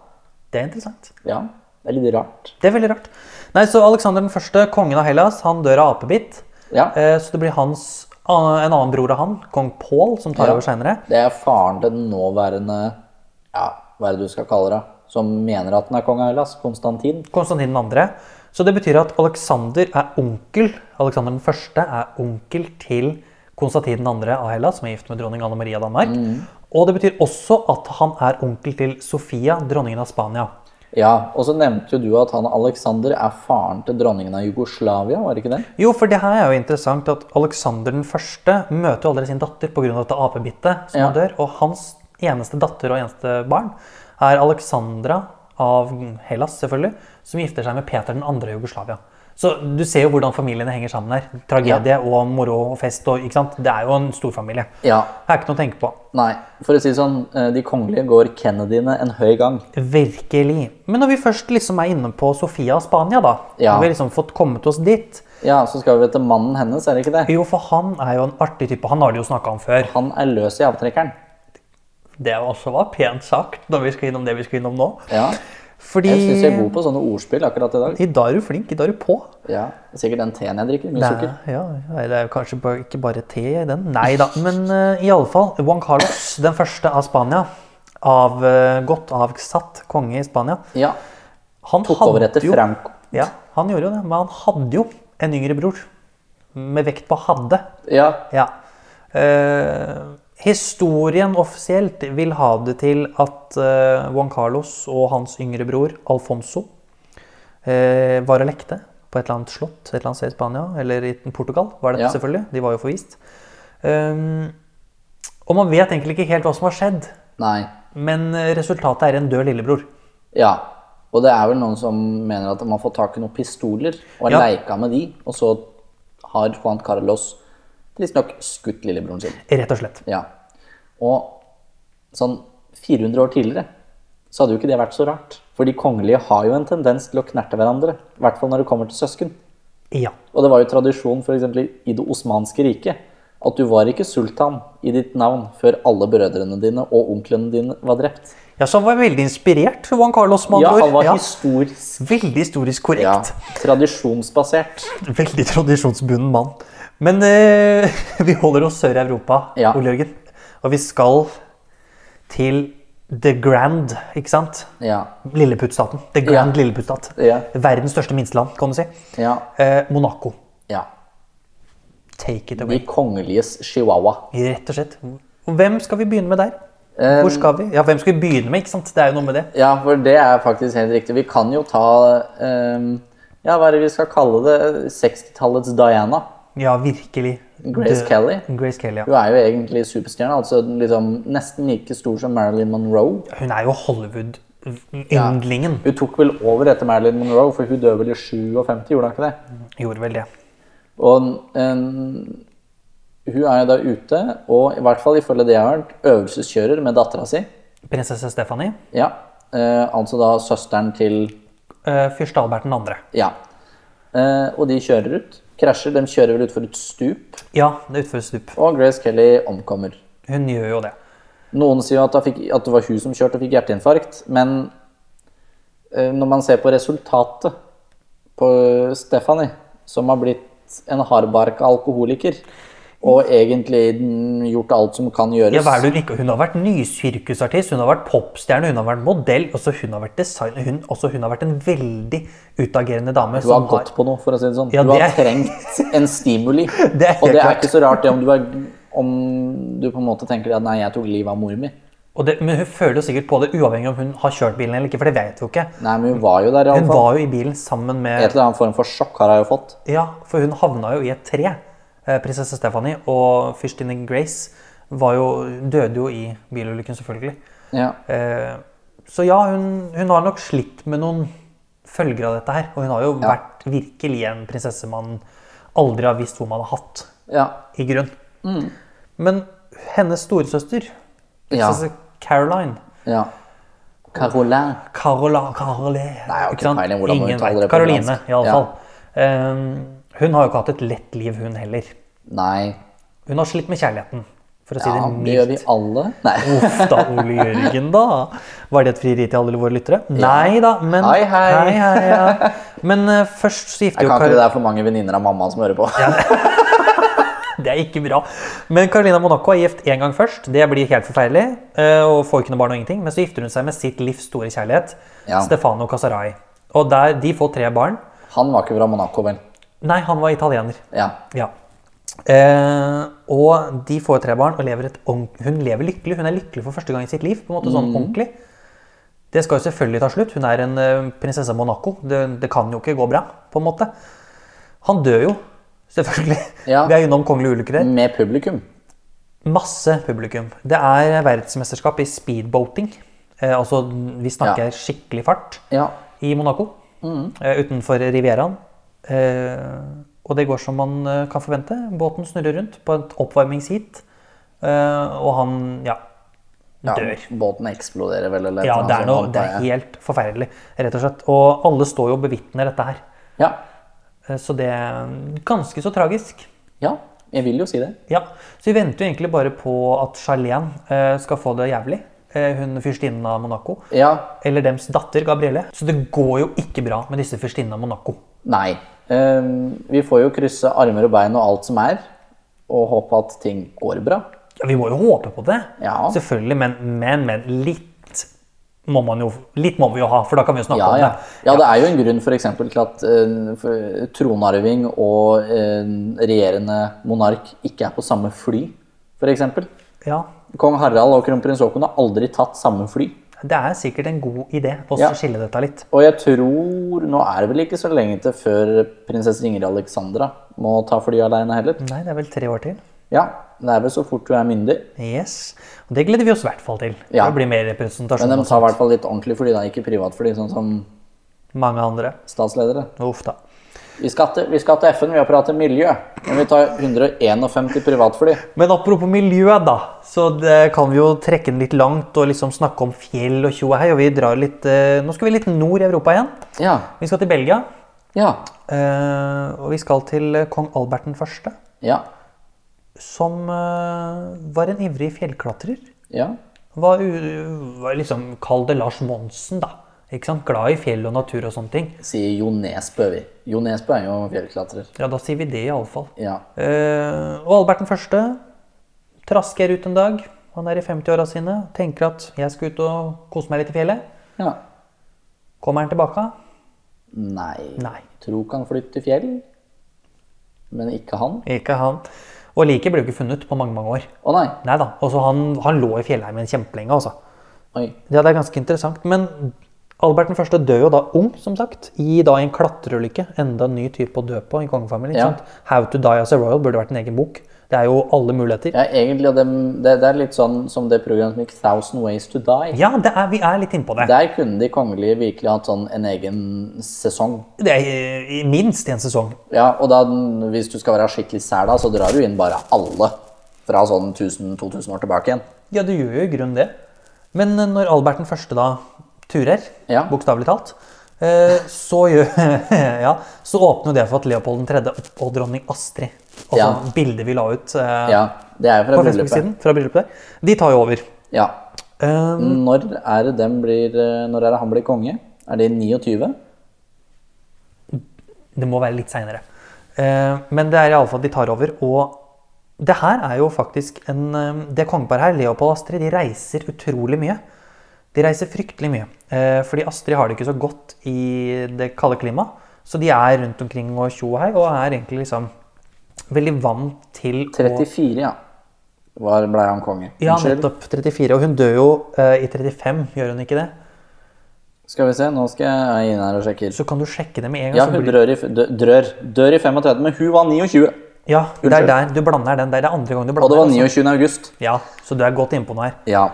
Speaker 2: Det er interessant.
Speaker 1: Ja, det er litt rart.
Speaker 2: Det er veldig rart. Nei, så Alexander den første, kongen av Hellas, han dør av apebitt.
Speaker 1: Ja,
Speaker 2: Eh, Så det blir hans, en annen bror av han, kong Paul, som tar
Speaker 1: Ja.
Speaker 2: over seinere.
Speaker 1: det er faren til den nåværende, ja, hva er det du skal kalle det, som mener at den er kong av Hellas, Konstantin.
Speaker 2: Konstantin 2. Så det betyr at Alexander er onkel Alexander den første er onkel til Konstantin 2. av Hellas, som er gift med dronning Anne Maria av Danmark. Og det betyr også at han er onkel til Sofia, dronningen av Spania.
Speaker 1: Ja, og så nevnte jo du at han Alexander er faren til dronningen av Jugoslavia, var det ikke det?
Speaker 2: Jo, for det her er jo interessant at Alexander den første møter jo aldri sin datter pga. dette apebittet som
Speaker 1: Ja.
Speaker 2: han dør, og hans eneste datter og eneste barn er Alexandra av Hellas, selvfølgelig, som gifter seg med Peter den andre i Jugoslavia. Så du ser jo hvordan familiene henger sammen her. Tragedie og moro og fest og ikke sant. Det er jo en storfamilie.
Speaker 1: Ja.
Speaker 2: Det er ikke noe å tenke på.
Speaker 1: Nei, for å si det sånn, eh, de kongelige går Kennedyene en høy gang.
Speaker 2: Virkelig. Men når vi først liksom er inne på Sofia og Spania, da,
Speaker 1: Ja.
Speaker 2: når vi har liksom fått kommet oss dit
Speaker 1: Ja, så skal vi til mannen hennes, er det ikke det?
Speaker 2: Jo, for han er jo en artig type. Han har de jo snakka om før.
Speaker 1: Han er løs i avtrekkeren.
Speaker 2: Det også var pent sagt når vi skal innom det vi skal innom nå.
Speaker 1: Ja,
Speaker 2: Fordi
Speaker 1: jeg synes jeg er god på sånne ordspill akkurat i dag.
Speaker 2: i dag er du flink, i dag er du på.
Speaker 1: Ja, det er sikkert den teen jeg drikker, mye
Speaker 2: Det er,
Speaker 1: sukker.
Speaker 2: ja, ja, det er jo kanskje bare, ikke bare te i den. Nei da. Men eh, i alle fall, Juan Carlos, den første av Spania, av, eh, godt avsatt konge i Spania
Speaker 1: Ja,
Speaker 2: Han
Speaker 1: tok over etter
Speaker 2: jo,
Speaker 1: Franco.
Speaker 2: Ja, han gjorde jo det, men han hadde jo en yngre bror. Med vekt på hadde.
Speaker 1: Ja,
Speaker 2: Ja. Eh, historien offisielt vil ha det til at eh, Juan Carlos og hans yngre bror Alfonso eh, var og lekte på et eller annet slott et eller annet sted i Spania, eller i Portugal, var Ehm, det
Speaker 1: Ja.
Speaker 2: selvfølgelig. De var jo forvist. Eh, og man vet egentlig ikke helt hva som har skjedd.
Speaker 1: nei.
Speaker 2: Men eh, resultatet er en død lillebror.
Speaker 1: Ja. Og det er vel noen som mener at man får tak i noen pistoler og har
Speaker 2: Ja.
Speaker 1: leika med de, og så har Juan Carlos tidsnok skutt lillebroren sin.
Speaker 2: Rett og slett.
Speaker 1: Ja. Og sånn 400 år tidligere så hadde jo ikke det vært så rart. For de kongelige har jo en tendens til å knerte hverandre. I hvert fall når det kommer til søsken.
Speaker 2: Ja.
Speaker 1: Og det var jo tradisjon for eksempel i det osmanske riket at du var ikke sultan i ditt navn før alle brødrene dine og onklene dine var drept.
Speaker 2: ja så han var veldig inspirert, Juan Carlos. med
Speaker 1: Ja,
Speaker 2: andre ord.
Speaker 1: han var
Speaker 2: Ja.
Speaker 1: historisk
Speaker 2: Veldig historisk
Speaker 1: ja,
Speaker 2: korrekt.
Speaker 1: tradisjonsbasert.
Speaker 2: Veldig tradisjonsbunden mann. Men eh, vi holder oss sør i Europa,
Speaker 1: Ja.
Speaker 2: Ole Jørgen. Og vi skal til The Grand, ikke sant?
Speaker 1: Ja.
Speaker 2: Lilleputtstaten. The Grand Lilleputtstat.
Speaker 1: Ja.
Speaker 2: Verdens største minsteland, kan du si.
Speaker 1: ja,
Speaker 2: Eh, Monaco.
Speaker 1: ja.
Speaker 2: Take it
Speaker 1: De
Speaker 2: away.
Speaker 1: kongeliges chihuahua.
Speaker 2: Rett og slett. Og Hvem skal vi begynne med der?
Speaker 1: Eh,
Speaker 2: Hvor skal vi? Ja, hvem skal vi begynne med? ikke sant? Det er jo noe med det.
Speaker 1: Ja, for det er faktisk helt riktig. Vi kan jo ta ehm, Ja, hva er det vi skal kalle det? 60-tallets Diana.
Speaker 2: Ja, virkelig.
Speaker 1: Grace
Speaker 2: The-
Speaker 1: Kelly.
Speaker 2: Grace Kelly,
Speaker 1: Hun
Speaker 2: ja.
Speaker 1: er jo egentlig superstjerne. altså den liksom Nesten like stor som Marilyn Monroe.
Speaker 2: Hun er jo Hollywood-yndlingen.
Speaker 1: Hun tok vel over etter Marilyn Monroe, for hun døde vel i 57, gjorde hun ikke det?
Speaker 2: Gjorde vel det.
Speaker 1: Og ehm, hun er jo da ute, og i hvert fall ifølge det jeg har hørt, øvelseskjører med dattera si.
Speaker 2: Prinsesse Stephanie.
Speaker 1: Ja, eh, altså da søsteren til
Speaker 2: Eh, Fyrst Albert 2.
Speaker 1: Ja. Eh, og de kjører ut. Krasjer. De kjører vel utfor et stup.
Speaker 2: Ja, det utføres stup.
Speaker 1: Og Grace Kelly omkommer.
Speaker 2: Hun gjør jo det.
Speaker 1: Noen sier jo at, da fikk, at det var hun som kjørte og fikk hjerteinfarkt, men eh, når man ser på resultatet på eh, Stephanie, som har blitt en hardbarka alkoholiker, og egentlig den- gjort alt som kan gjøres
Speaker 2: Ja, hva er det hun ikke? Hun har vært nysirkusartist, hun har vært popstjerne, hun har vært modell, også hun har vært designer. Hun, også hun har vært en veldig utagerende dame.
Speaker 1: Du har
Speaker 2: som
Speaker 1: gått på noe, for å si det sånn.
Speaker 2: Ja,
Speaker 1: du har
Speaker 2: det er-
Speaker 1: trengt en stimuli.
Speaker 2: Det er helt
Speaker 1: og det er
Speaker 2: klart.
Speaker 1: ikke så rart det om du, er, om du på en måte tenker at nei, jeg tok livet av mor mi.
Speaker 2: og det, men hun føler jo sikkert på det, uavhengig om hun har kjørt bilen eller ikke, for det vet hun ikke.
Speaker 1: Nei, men hun var jo der i alle
Speaker 2: Hun
Speaker 1: fall.
Speaker 2: var jo i bilen sammen
Speaker 1: Et
Speaker 2: med
Speaker 1: eller annet form for sjokk har hun jo fått.
Speaker 2: Ja, for hun havna jo i et tre. Eh, Prinsesse Stephanie og fyrstinne Grace var jo, døde jo i bilulykken, selvfølgelig.
Speaker 1: Ja.
Speaker 2: Eh, Så ja, hun, hun har nok slitt med noen følger av dette her. Og hun har jo vært virkelig en prinsesse man aldri har visst hvor man har hatt,
Speaker 1: Ja.
Speaker 2: i grunn. Men hennes storesøster,
Speaker 1: Mm. Ja.
Speaker 2: prinsesse Caroline
Speaker 1: ja. Caroline.
Speaker 2: Carola, Carole Nei,
Speaker 1: har ikke peiling hvordan man
Speaker 2: Ingen
Speaker 1: uttaler
Speaker 2: vet.
Speaker 1: det på
Speaker 2: Caroline,
Speaker 1: fransk. Ja.
Speaker 2: iallfall. Ja. Ehm, hun har jo ikke hatt et lett liv, hun heller.
Speaker 1: Nei.
Speaker 2: Hun har slitt med kjærligheten, for å
Speaker 1: Ja,
Speaker 2: si det
Speaker 1: det gjør
Speaker 2: mildt.
Speaker 1: vi alle. Nei.
Speaker 2: Uff da, Ole Jørgen, da. Var det et frieri til alle våre lyttere? Nei da, men
Speaker 1: Hei, hei.
Speaker 2: hei, ja. Men eh, først så gifter
Speaker 1: Jeg
Speaker 2: jo
Speaker 1: kan ikke det
Speaker 2: Kar
Speaker 1: det er for mange venninner av mamma som hører på.
Speaker 2: Det er ikke bra. Men Carolina Monaco er gift én gang først. Det blir helt forferdelig. eh, Og får ikke noe barn og ingenting. Men så gifter hun seg med sitt livs store kjærlighet,
Speaker 1: Ja.
Speaker 2: Stefano Casarai. Og der, de får tre barn.
Speaker 1: Han var ikke fra Monaco, vel?
Speaker 2: Nei, han var italiener.
Speaker 1: Ja.
Speaker 2: Ja. Eh, og de får tre barn, og lever et ordent- hun lever lykkelig. Hun er lykkelig for første gang i sitt liv. på en måte sånn
Speaker 1: Mm.
Speaker 2: ordentlig. Det skal jo selvfølgelig ta slutt. Hun er en eh, prinsesse av Monaco. Det, det kan jo ikke gå bra. på en måte. Han dør jo, selvfølgelig.
Speaker 1: Ja.
Speaker 2: Vi er innom kongelige ulykker her.
Speaker 1: Med publikum.
Speaker 2: Masse publikum. Det er verdensmesterskap i speedboating. Eh, altså, vi snakker
Speaker 1: Ja.
Speaker 2: skikkelig fart
Speaker 1: Ja.
Speaker 2: i Monaco. eh, utenfor Rivieraen. Eh, og det går som man eh, kan forvente. Båten snurrer rundt på et oppvarmingsheat. Eh, og han ja,
Speaker 1: ja.
Speaker 2: dør.
Speaker 1: Båten eksploderer vel, eller et
Speaker 2: Ja,
Speaker 1: eller
Speaker 2: det er,
Speaker 1: annet
Speaker 2: noe,
Speaker 1: sånt,
Speaker 2: det er
Speaker 1: antar jeg.
Speaker 2: helt forferdelig, rett og slett. Og alle står jo og bevitner dette her.
Speaker 1: Ja.
Speaker 2: Eh, Så det er ganske så tragisk.
Speaker 1: ja. Jeg vil jo si det.
Speaker 2: Ja, Så vi venter jo egentlig bare på at Charlene eh, skal få det jævlig. Eh, hun fyrstinnen av Monaco.
Speaker 1: Ja.
Speaker 2: Eller dems datter, Gabrielle. Så det går jo ikke bra med disse fyrstinnene av Monaco.
Speaker 1: Nei. Ehm, vi får jo krysse armer og bein og alt som er, og håpe at ting går bra.
Speaker 2: Ja, vi må jo håpe på det.
Speaker 1: Ja.
Speaker 2: Selvfølgelig, men, men, men litt må man jo Litt må vi jo ha, for da kan vi jo snakke
Speaker 1: Ja, ja.
Speaker 2: om det.
Speaker 1: ja, det er jo en grunn for eksempel til at eh, for- tronarving og eh, regjerende monark ikke er på samme fly, f.eks.
Speaker 2: Ja,
Speaker 1: Kong Harald og kronprins Haakon har aldri tatt samme fly.
Speaker 2: Det er sikkert en god idé å
Speaker 1: Ja.
Speaker 2: skille dette litt.
Speaker 1: Og jeg tror Nå er det vel ikke så lenge til før prinsesse Ingrid Alexandra må ta fly alene heller.
Speaker 2: Nei, det er vel tre år til.
Speaker 1: Ja, det er vel så fort du er myndig.
Speaker 2: Yes. Og det gleder vi oss i hvert fall til.
Speaker 1: Ja.
Speaker 2: Det blir mer representasjon
Speaker 1: Men de
Speaker 2: av
Speaker 1: tar i hvert fall litt ordentlig fordi det er ikke privatfly, sånn som
Speaker 2: mange andre.
Speaker 1: statsledere.
Speaker 2: Uff da.
Speaker 1: Vi skal, til, vi skal til FN, vi har pratet miljø. Men vi tar 151 privatfly.
Speaker 2: Men apropos miljø, da. Så det kan vi jo trekke den litt langt og liksom snakke om fjell og tjo og hei. Og vi drar litt eh, Nå skal vi litt nord i Europa igjen.
Speaker 1: Ja.
Speaker 2: Vi skal til Belgia.
Speaker 1: Ja.
Speaker 2: eh, og vi skal til eh, kong Albert den første,
Speaker 1: Ja.
Speaker 2: som eh, var en ivrig fjellklatrer.
Speaker 1: ja.
Speaker 2: Var, u- var liksom Kall det Lars Monsen, da. Ikke sant? Glad i fjell og natur og sånne ting.
Speaker 1: Sier Jo Nesbø, vi. Jo Nesbø er jo fjellklatrer.
Speaker 2: Ja, da sier vi det, iallfall.
Speaker 1: Ja.
Speaker 2: Eh, og Albert den første trasker ut en dag. Han er i 50-åra sine tenker at jeg skal ut og kose meg litt i fjellet.
Speaker 1: ja.
Speaker 2: Kommer han tilbake?
Speaker 1: Nei.
Speaker 2: Nei.
Speaker 1: Tro kan flytte til fjell, men ikke han.
Speaker 2: Ikke han. Og liket ble jo ikke funnet på mange mange år.
Speaker 1: Å nei.
Speaker 2: Nei da. Og så han, han lå i fjellheimen kjempelenge, altså.
Speaker 1: Oi.
Speaker 2: Ja, det er ganske interessant. Men Albert den første dør jo da ung, som sagt. I da en klatreulykke. Enda en ny type å dø på i kongefamilien. ikke
Speaker 1: Ja.
Speaker 2: sant? How to die as a royal burde vært en egen bok. Det er jo alle muligheter.
Speaker 1: Ja, egentlig, og det, det, det er litt sånn som det programmet som gikk 1000 Ways to Die.
Speaker 2: Ja, det er, vi er litt innpå det.
Speaker 1: Der kunne de kongelige virkelig hatt sånn en egen sesong.
Speaker 2: Det er eh, i minst en sesong.
Speaker 1: Ja, og da, hvis du skal være skikkelig sær da, så drar du inn bare alle fra sånn 1000-2000 år tilbake igjen.
Speaker 2: Ja, det gjør jo i grunnen det. Men eh, når Albert den første da turer,
Speaker 1: Ja.
Speaker 2: bokstavelig talt, eh, så, gjør, ja, så åpner jo det for at Leopold 3. og dronning Astrid, altså
Speaker 1: Ja.
Speaker 2: bildet vi la ut eh,
Speaker 1: Ja, det er jo fra
Speaker 2: på
Speaker 1: bryllupet.
Speaker 2: Facebook-siden fra bryllupet, der, de tar jo over.
Speaker 1: Ja.
Speaker 2: Eh,
Speaker 1: Når er det, dem blir, eh, når er det han blir konge? Er det i 29?
Speaker 2: Det må være litt seinere. Men det er iallfall at de tar over. Og det her er jo faktisk en eh, Det kongeparet her, Leopold og Astrid, de reiser utrolig mye. De reiser fryktelig mye. eh, Fordi Astrid har det ikke så godt i det kalde klimaet. Så de er rundt omkring og tjo og hei, og er egentlig liksom veldig vant til å
Speaker 1: 34, ja. Var, ble han konge?
Speaker 2: Ja,
Speaker 1: Unnskyld.
Speaker 2: nettopp. 34. Og hun dør jo eh, i 35, gjør hun ikke det?
Speaker 1: Skal vi se, nå skal jeg inn her og sjekke.
Speaker 2: Så kan du sjekke det med en gang.
Speaker 1: Ja,
Speaker 2: så
Speaker 1: hun
Speaker 2: blir-
Speaker 1: drør i, f- dø- drør, dør i 35, men hun var 29.
Speaker 2: ja, det er
Speaker 1: Unnskyld.
Speaker 2: der du blander den der. Det er andre gang du
Speaker 1: Og
Speaker 2: blander
Speaker 1: det var
Speaker 2: altså.
Speaker 1: 29. august.
Speaker 2: Ja, så du er godt innpå nå her.
Speaker 1: Ja.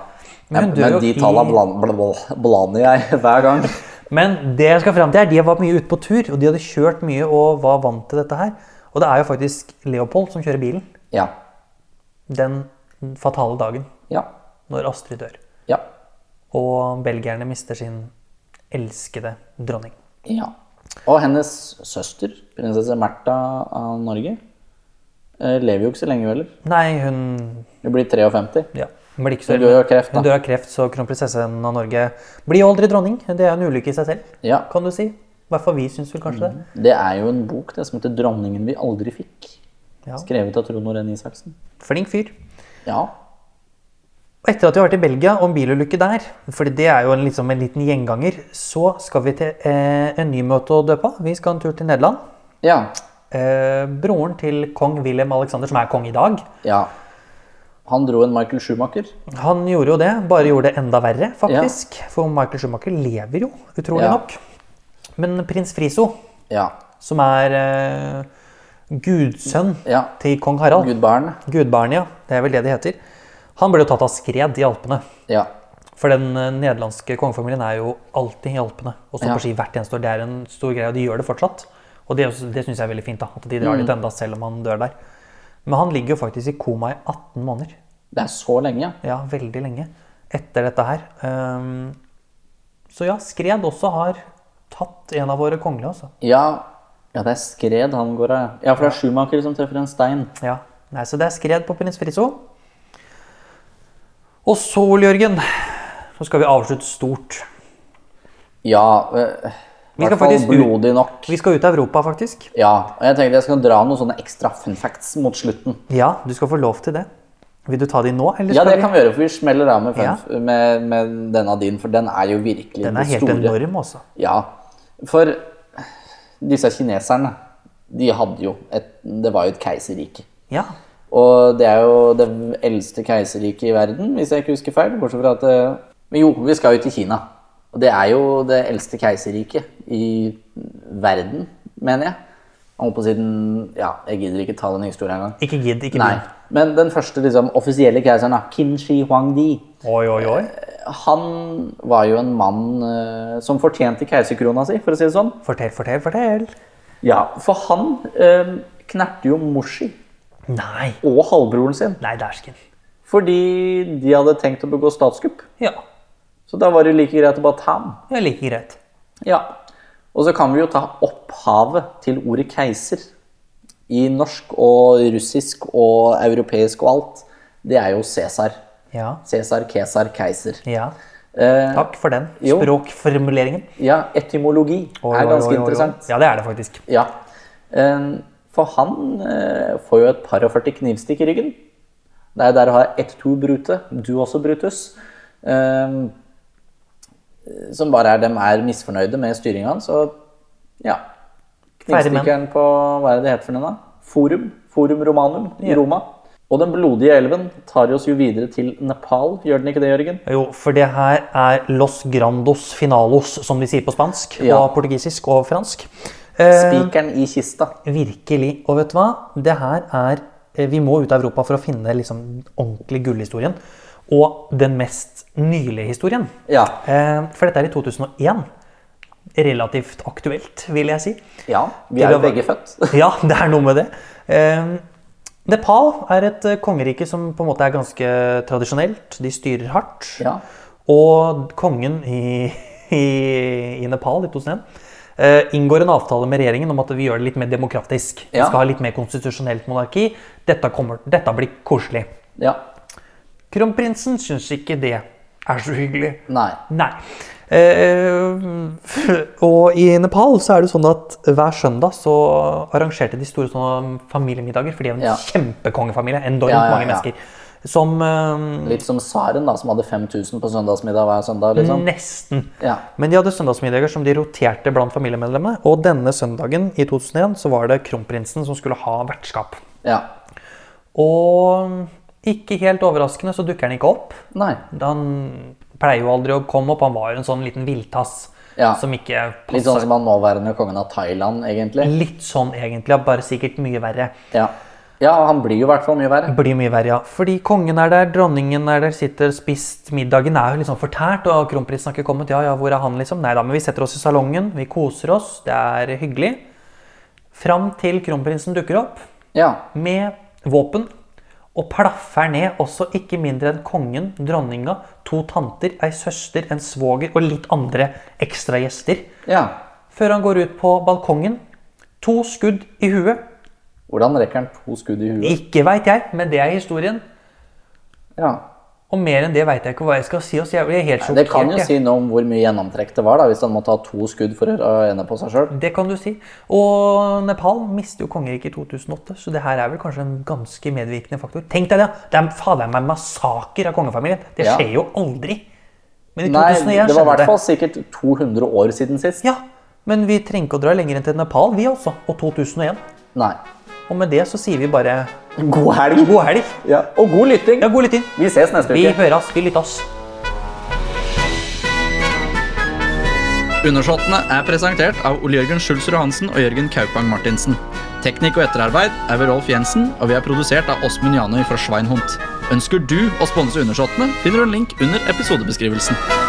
Speaker 2: Men
Speaker 1: Men,
Speaker 2: hun dør
Speaker 1: men
Speaker 2: jo
Speaker 1: de
Speaker 2: i-
Speaker 1: tallene bland- bl- bl- blander jeg hver gang.
Speaker 2: Men det jeg skal frem til er, de var mye ute på tur, og de hadde kjørt mye og var vant til dette her. Og det er jo faktisk Leopold som kjører bilen
Speaker 1: Ja.
Speaker 2: den fatale dagen
Speaker 1: Ja.
Speaker 2: når Astrid dør.
Speaker 1: Ja.
Speaker 2: Og belgierne mister sin elskede dronning.
Speaker 1: Ja. Og hennes søster, prinsesse Märtha av Norge, eh, lever jo ikke så lenge, vel?
Speaker 2: Nei, hun
Speaker 1: Hun blir 53.
Speaker 2: ja, hun blir ikke så
Speaker 1: Hun dør jo av kreft,
Speaker 2: Hun
Speaker 1: da.
Speaker 2: dør av kreft, så kronprinsessen av Norge blir jo aldri dronning. Det er jo en ulykke i seg selv,
Speaker 1: Ja. Mm.
Speaker 2: kan du si. I hvert fall vi syns vel kanskje det.
Speaker 1: Det er jo en bok det som heter 'Dronningen vi aldri fikk'.
Speaker 2: Ja.
Speaker 1: Skrevet av Trond Oren Isaksen.
Speaker 2: Flink fyr.
Speaker 1: Ja.
Speaker 2: Og Etter at vi har vært i Belgia og en bilulykke der, for det er jo en, liksom en liten gjenganger, så skal vi til eh, en ny møte å døpe. Vi skal en tur til Nederland.
Speaker 1: Ja.
Speaker 2: Eh, broren til kong Wilhelm Alexander, som er kong i dag,
Speaker 1: ja. Han dro en Michael Schumacher.
Speaker 2: han gjorde jo det, bare gjorde det enda verre, faktisk. For Michael Schumacher lever jo, utrolig
Speaker 1: Ja.
Speaker 2: nok. Men prins Friso,
Speaker 1: Ja.
Speaker 2: som er eh, gudsønn
Speaker 1: Ja.
Speaker 2: til kong Harald,
Speaker 1: Gudbarn.
Speaker 2: gudbarn, ja, det er vel det de heter, han ble jo tatt av skred i Alpene.
Speaker 1: Ja.
Speaker 2: For den eh, nederlandske kongefamilien er jo alltid i Alpene og står
Speaker 1: Ja.
Speaker 2: på ski hvert eneste år. Det er en stor greie, og de gjør det fortsatt. Og det, er også- det syns jeg er veldig fint, da, at de drar dit enda selv om han dør der. Men han ligger jo faktisk i koma i 18 måneder.
Speaker 1: Det er så lenge, ja.
Speaker 2: Ja, veldig lenge etter dette her. Ehm, så ja, skred også har tatt en av våre kongelige, altså.
Speaker 1: Ja, ja det er skred han går av. Ja, for det er Schumacher som treffer en stein.
Speaker 2: Ja. Nei, så det er skred på prins Friso. Og så, Ole Jørgen, så skal vi avslutte stort.
Speaker 1: Ja. eh, I
Speaker 2: Vi skal
Speaker 1: hvert fall
Speaker 2: faktisk ut-
Speaker 1: blodig nok.
Speaker 2: Vi skal ut av Europa, faktisk.
Speaker 1: Ja, og jeg tenkte jeg skal dra noen sånne ekstra fun facts mot slutten.
Speaker 2: Ja, du skal få lov til det. Vil du ta de nå? Eller
Speaker 1: Ja,
Speaker 2: skal
Speaker 1: det kan vi gjøre, for vi smeller av med, fun,
Speaker 2: Ja.
Speaker 1: med, med denne din, for den er jo virkelig
Speaker 2: Den er helt
Speaker 1: store.
Speaker 2: enorm, altså.
Speaker 1: Ja, for disse kineserne, de hadde jo et, det var jo et keiserrike.
Speaker 2: Ja.
Speaker 1: Og det er jo det eldste keiserriket i verden, hvis jeg ikke husker feil, bortsett fra at, eh, men jo, vi skal jo til Kina. Og det er jo det eldste keiserriket i verden, mener jeg. Han holdt på å si den Ja, jeg gidder ikke ta den historien engang.
Speaker 2: Ikke gidd, ikke
Speaker 1: Nei.
Speaker 2: begynn.
Speaker 1: Men den første liksom, offisielle keiseren, da, Qin Shi Huangdi,
Speaker 2: Oi, oi, oi.
Speaker 1: han var jo en mann eh, som fortjente keiserkrona si, for å si det sånn.
Speaker 2: Fortell, fortell, fortell.
Speaker 1: Ja, For han eh, knerte jo Moshi
Speaker 2: Nei.
Speaker 1: og halvbroren sin
Speaker 2: Nei, dæsken.
Speaker 1: fordi de hadde tenkt å begå statskupp.
Speaker 2: Ja.
Speaker 1: Så da var det jo like greit å bare ta ham.
Speaker 2: Det er like greit.
Speaker 1: Ja. Og så kan vi jo ta opphavet til ordet keiser. I norsk og russisk og europeisk og alt. Det er jo Cæsar.
Speaker 2: Ja.
Speaker 1: Cæsar, Kesar, keiser.
Speaker 2: Ja.
Speaker 1: Eh,
Speaker 2: Takk for den
Speaker 1: Jo.
Speaker 2: språkformuleringen.
Speaker 1: ja, etymologi
Speaker 2: Oi,
Speaker 1: er
Speaker 2: oi,
Speaker 1: ganske
Speaker 2: oi, oi, oi.
Speaker 1: interessant.
Speaker 2: Ja, det er det faktisk.
Speaker 1: Ja. Eh, for han eh, får jo et par og 40 knivstikk i ryggen. Det er jo der å ha ett, to brute. Du også, Brutus. Eh, som bare er dem er misfornøyde med styringa hans. Og ja
Speaker 2: Færre menn.
Speaker 1: Knivstikkeren på hva er det det heter for den da? Forum. Forum Romanum i Roma. Og den blodige elven tar oss jo videre til Nepal. Gjør den ikke det, Jørgen?
Speaker 2: Jo, for det her er Los Grandos Finalos, som de sier på spansk,
Speaker 1: Ja.
Speaker 2: og portugisisk og fransk. Eh,
Speaker 1: Spikeren i kista.
Speaker 2: virkelig. Og vet du hva? Det her er eh, Vi må ut av Europa for å finne liksom ordentlig gullhistorien. Og den mest nylige historien.
Speaker 1: Ja.
Speaker 2: Eh, for dette er i 2001. Relativt aktuelt, vil jeg si.
Speaker 1: ja. Vi
Speaker 2: Til
Speaker 1: er
Speaker 2: å-
Speaker 1: jo begge født.
Speaker 2: Ja, det er noe med det. Eh, Nepal er et eh, kongerike som på en måte er ganske tradisjonelt. De styrer hardt.
Speaker 1: Ja.
Speaker 2: Og kongen i, i, i Nepal i 2001 eh, inngår en avtale med regjeringen om at vi gjør det litt mer demokratisk. Vi
Speaker 1: Ja.
Speaker 2: skal ha litt mer konstitusjonelt monarki. Dette, kommer, dette blir koselig.
Speaker 1: ja.
Speaker 2: Kronprinsen syns ikke det er så hyggelig.
Speaker 1: Nei.
Speaker 2: Nei. Eh, og i Nepal så er det sånn at hver søndag så arrangerte de store sånne familiemiddager, for de er en
Speaker 1: Ja.
Speaker 2: kjempekongefamilie. Enormt
Speaker 1: Ja, ja,
Speaker 2: mange
Speaker 1: ja.
Speaker 2: mennesker. Som eh,
Speaker 1: Litt som Saren, da, som hadde 5000 på søndagsmiddag hver søndag. liksom.
Speaker 2: nesten.
Speaker 1: Ja.
Speaker 2: Men de hadde søndagsmiddager som de roterte blant familiemedlemmene. Og denne søndagen i 2001 så var det kronprinsen som skulle ha vertskap.
Speaker 1: ja.
Speaker 2: Og ikke helt overraskende så dukker han ikke opp.
Speaker 1: Nei.
Speaker 2: Han pleier jo aldri å komme opp, han var jo en sånn liten villtass.
Speaker 1: Ja.
Speaker 2: Som ikke
Speaker 1: Litt
Speaker 2: passa
Speaker 1: sånn som han nåværende kongen av Thailand, egentlig.
Speaker 2: Litt sånn egentlig, ja, bare sikkert mye verre.
Speaker 1: Ja, ja han blir jo i hvert fall mye verre.
Speaker 2: Blir mye verre, ja. Fordi kongen er der, dronningen er der, sitter spist, middagen er jo liksom fortært, og kronprinsen har ikke kommet. Ja, ja, hvor er han, liksom? Nei da, men vi setter oss i salongen, vi koser oss, det er hyggelig. Fram til kronprinsen dukker opp
Speaker 1: Ja.
Speaker 2: med våpen og plaffer ned også ikke mindre enn kongen, dronninga, to tanter, ei søster, en svoger og litt andre ekstra gjester.
Speaker 1: ja.
Speaker 2: Før han går ut på balkongen. To skudd i huet.
Speaker 1: Hvordan rekker han to skudd i huet?
Speaker 2: Ikke veit jeg, men det er historien.
Speaker 1: Ja.
Speaker 2: Og mer enn det veit jeg ikke hva jeg skal si. Altså, jeg blir helt sjokkert.
Speaker 1: Det kan jo
Speaker 2: jeg.
Speaker 1: si noe om hvor mye gjennomtrekk det var, da, hvis han måtte ha to skudd for å ende på seg sjøl.
Speaker 2: Det kan du si. Og Nepal mister jo kongeriket i 2008, så det her er vel kanskje en ganske medvirkende faktor. Tenk deg det! Det er fader meg massaker av kongefamilien. Det
Speaker 1: Ja.
Speaker 2: skjer jo aldri. Men i
Speaker 1: Nei,
Speaker 2: 2001
Speaker 1: det var i
Speaker 2: skjedde
Speaker 1: hvert fall sikkert 200 år siden sist.
Speaker 2: Ja, men vi trenger ikke å dra lenger enn til Nepal, vi også. Og 2001.
Speaker 1: Nei.
Speaker 2: Og med det så sier vi bare
Speaker 1: God helg!
Speaker 2: god helg.
Speaker 1: Ja. Og god lytting!
Speaker 2: Ja, god lytting.
Speaker 1: Vi ses neste
Speaker 2: Vi
Speaker 1: uke.
Speaker 2: høres. Vi lyttes.
Speaker 1: Undersåttene er presentert av Ole-Jørgen Schulzrud Hansen og Jørgen Kaupang Martinsen. Teknikk og etterarbeid er ved Rolf Jensen, og vi er produsert av Åsmund Janøy fra Schweinhund. Ønsker du å sponse Undersåttene, finner du en link under episodebeskrivelsen.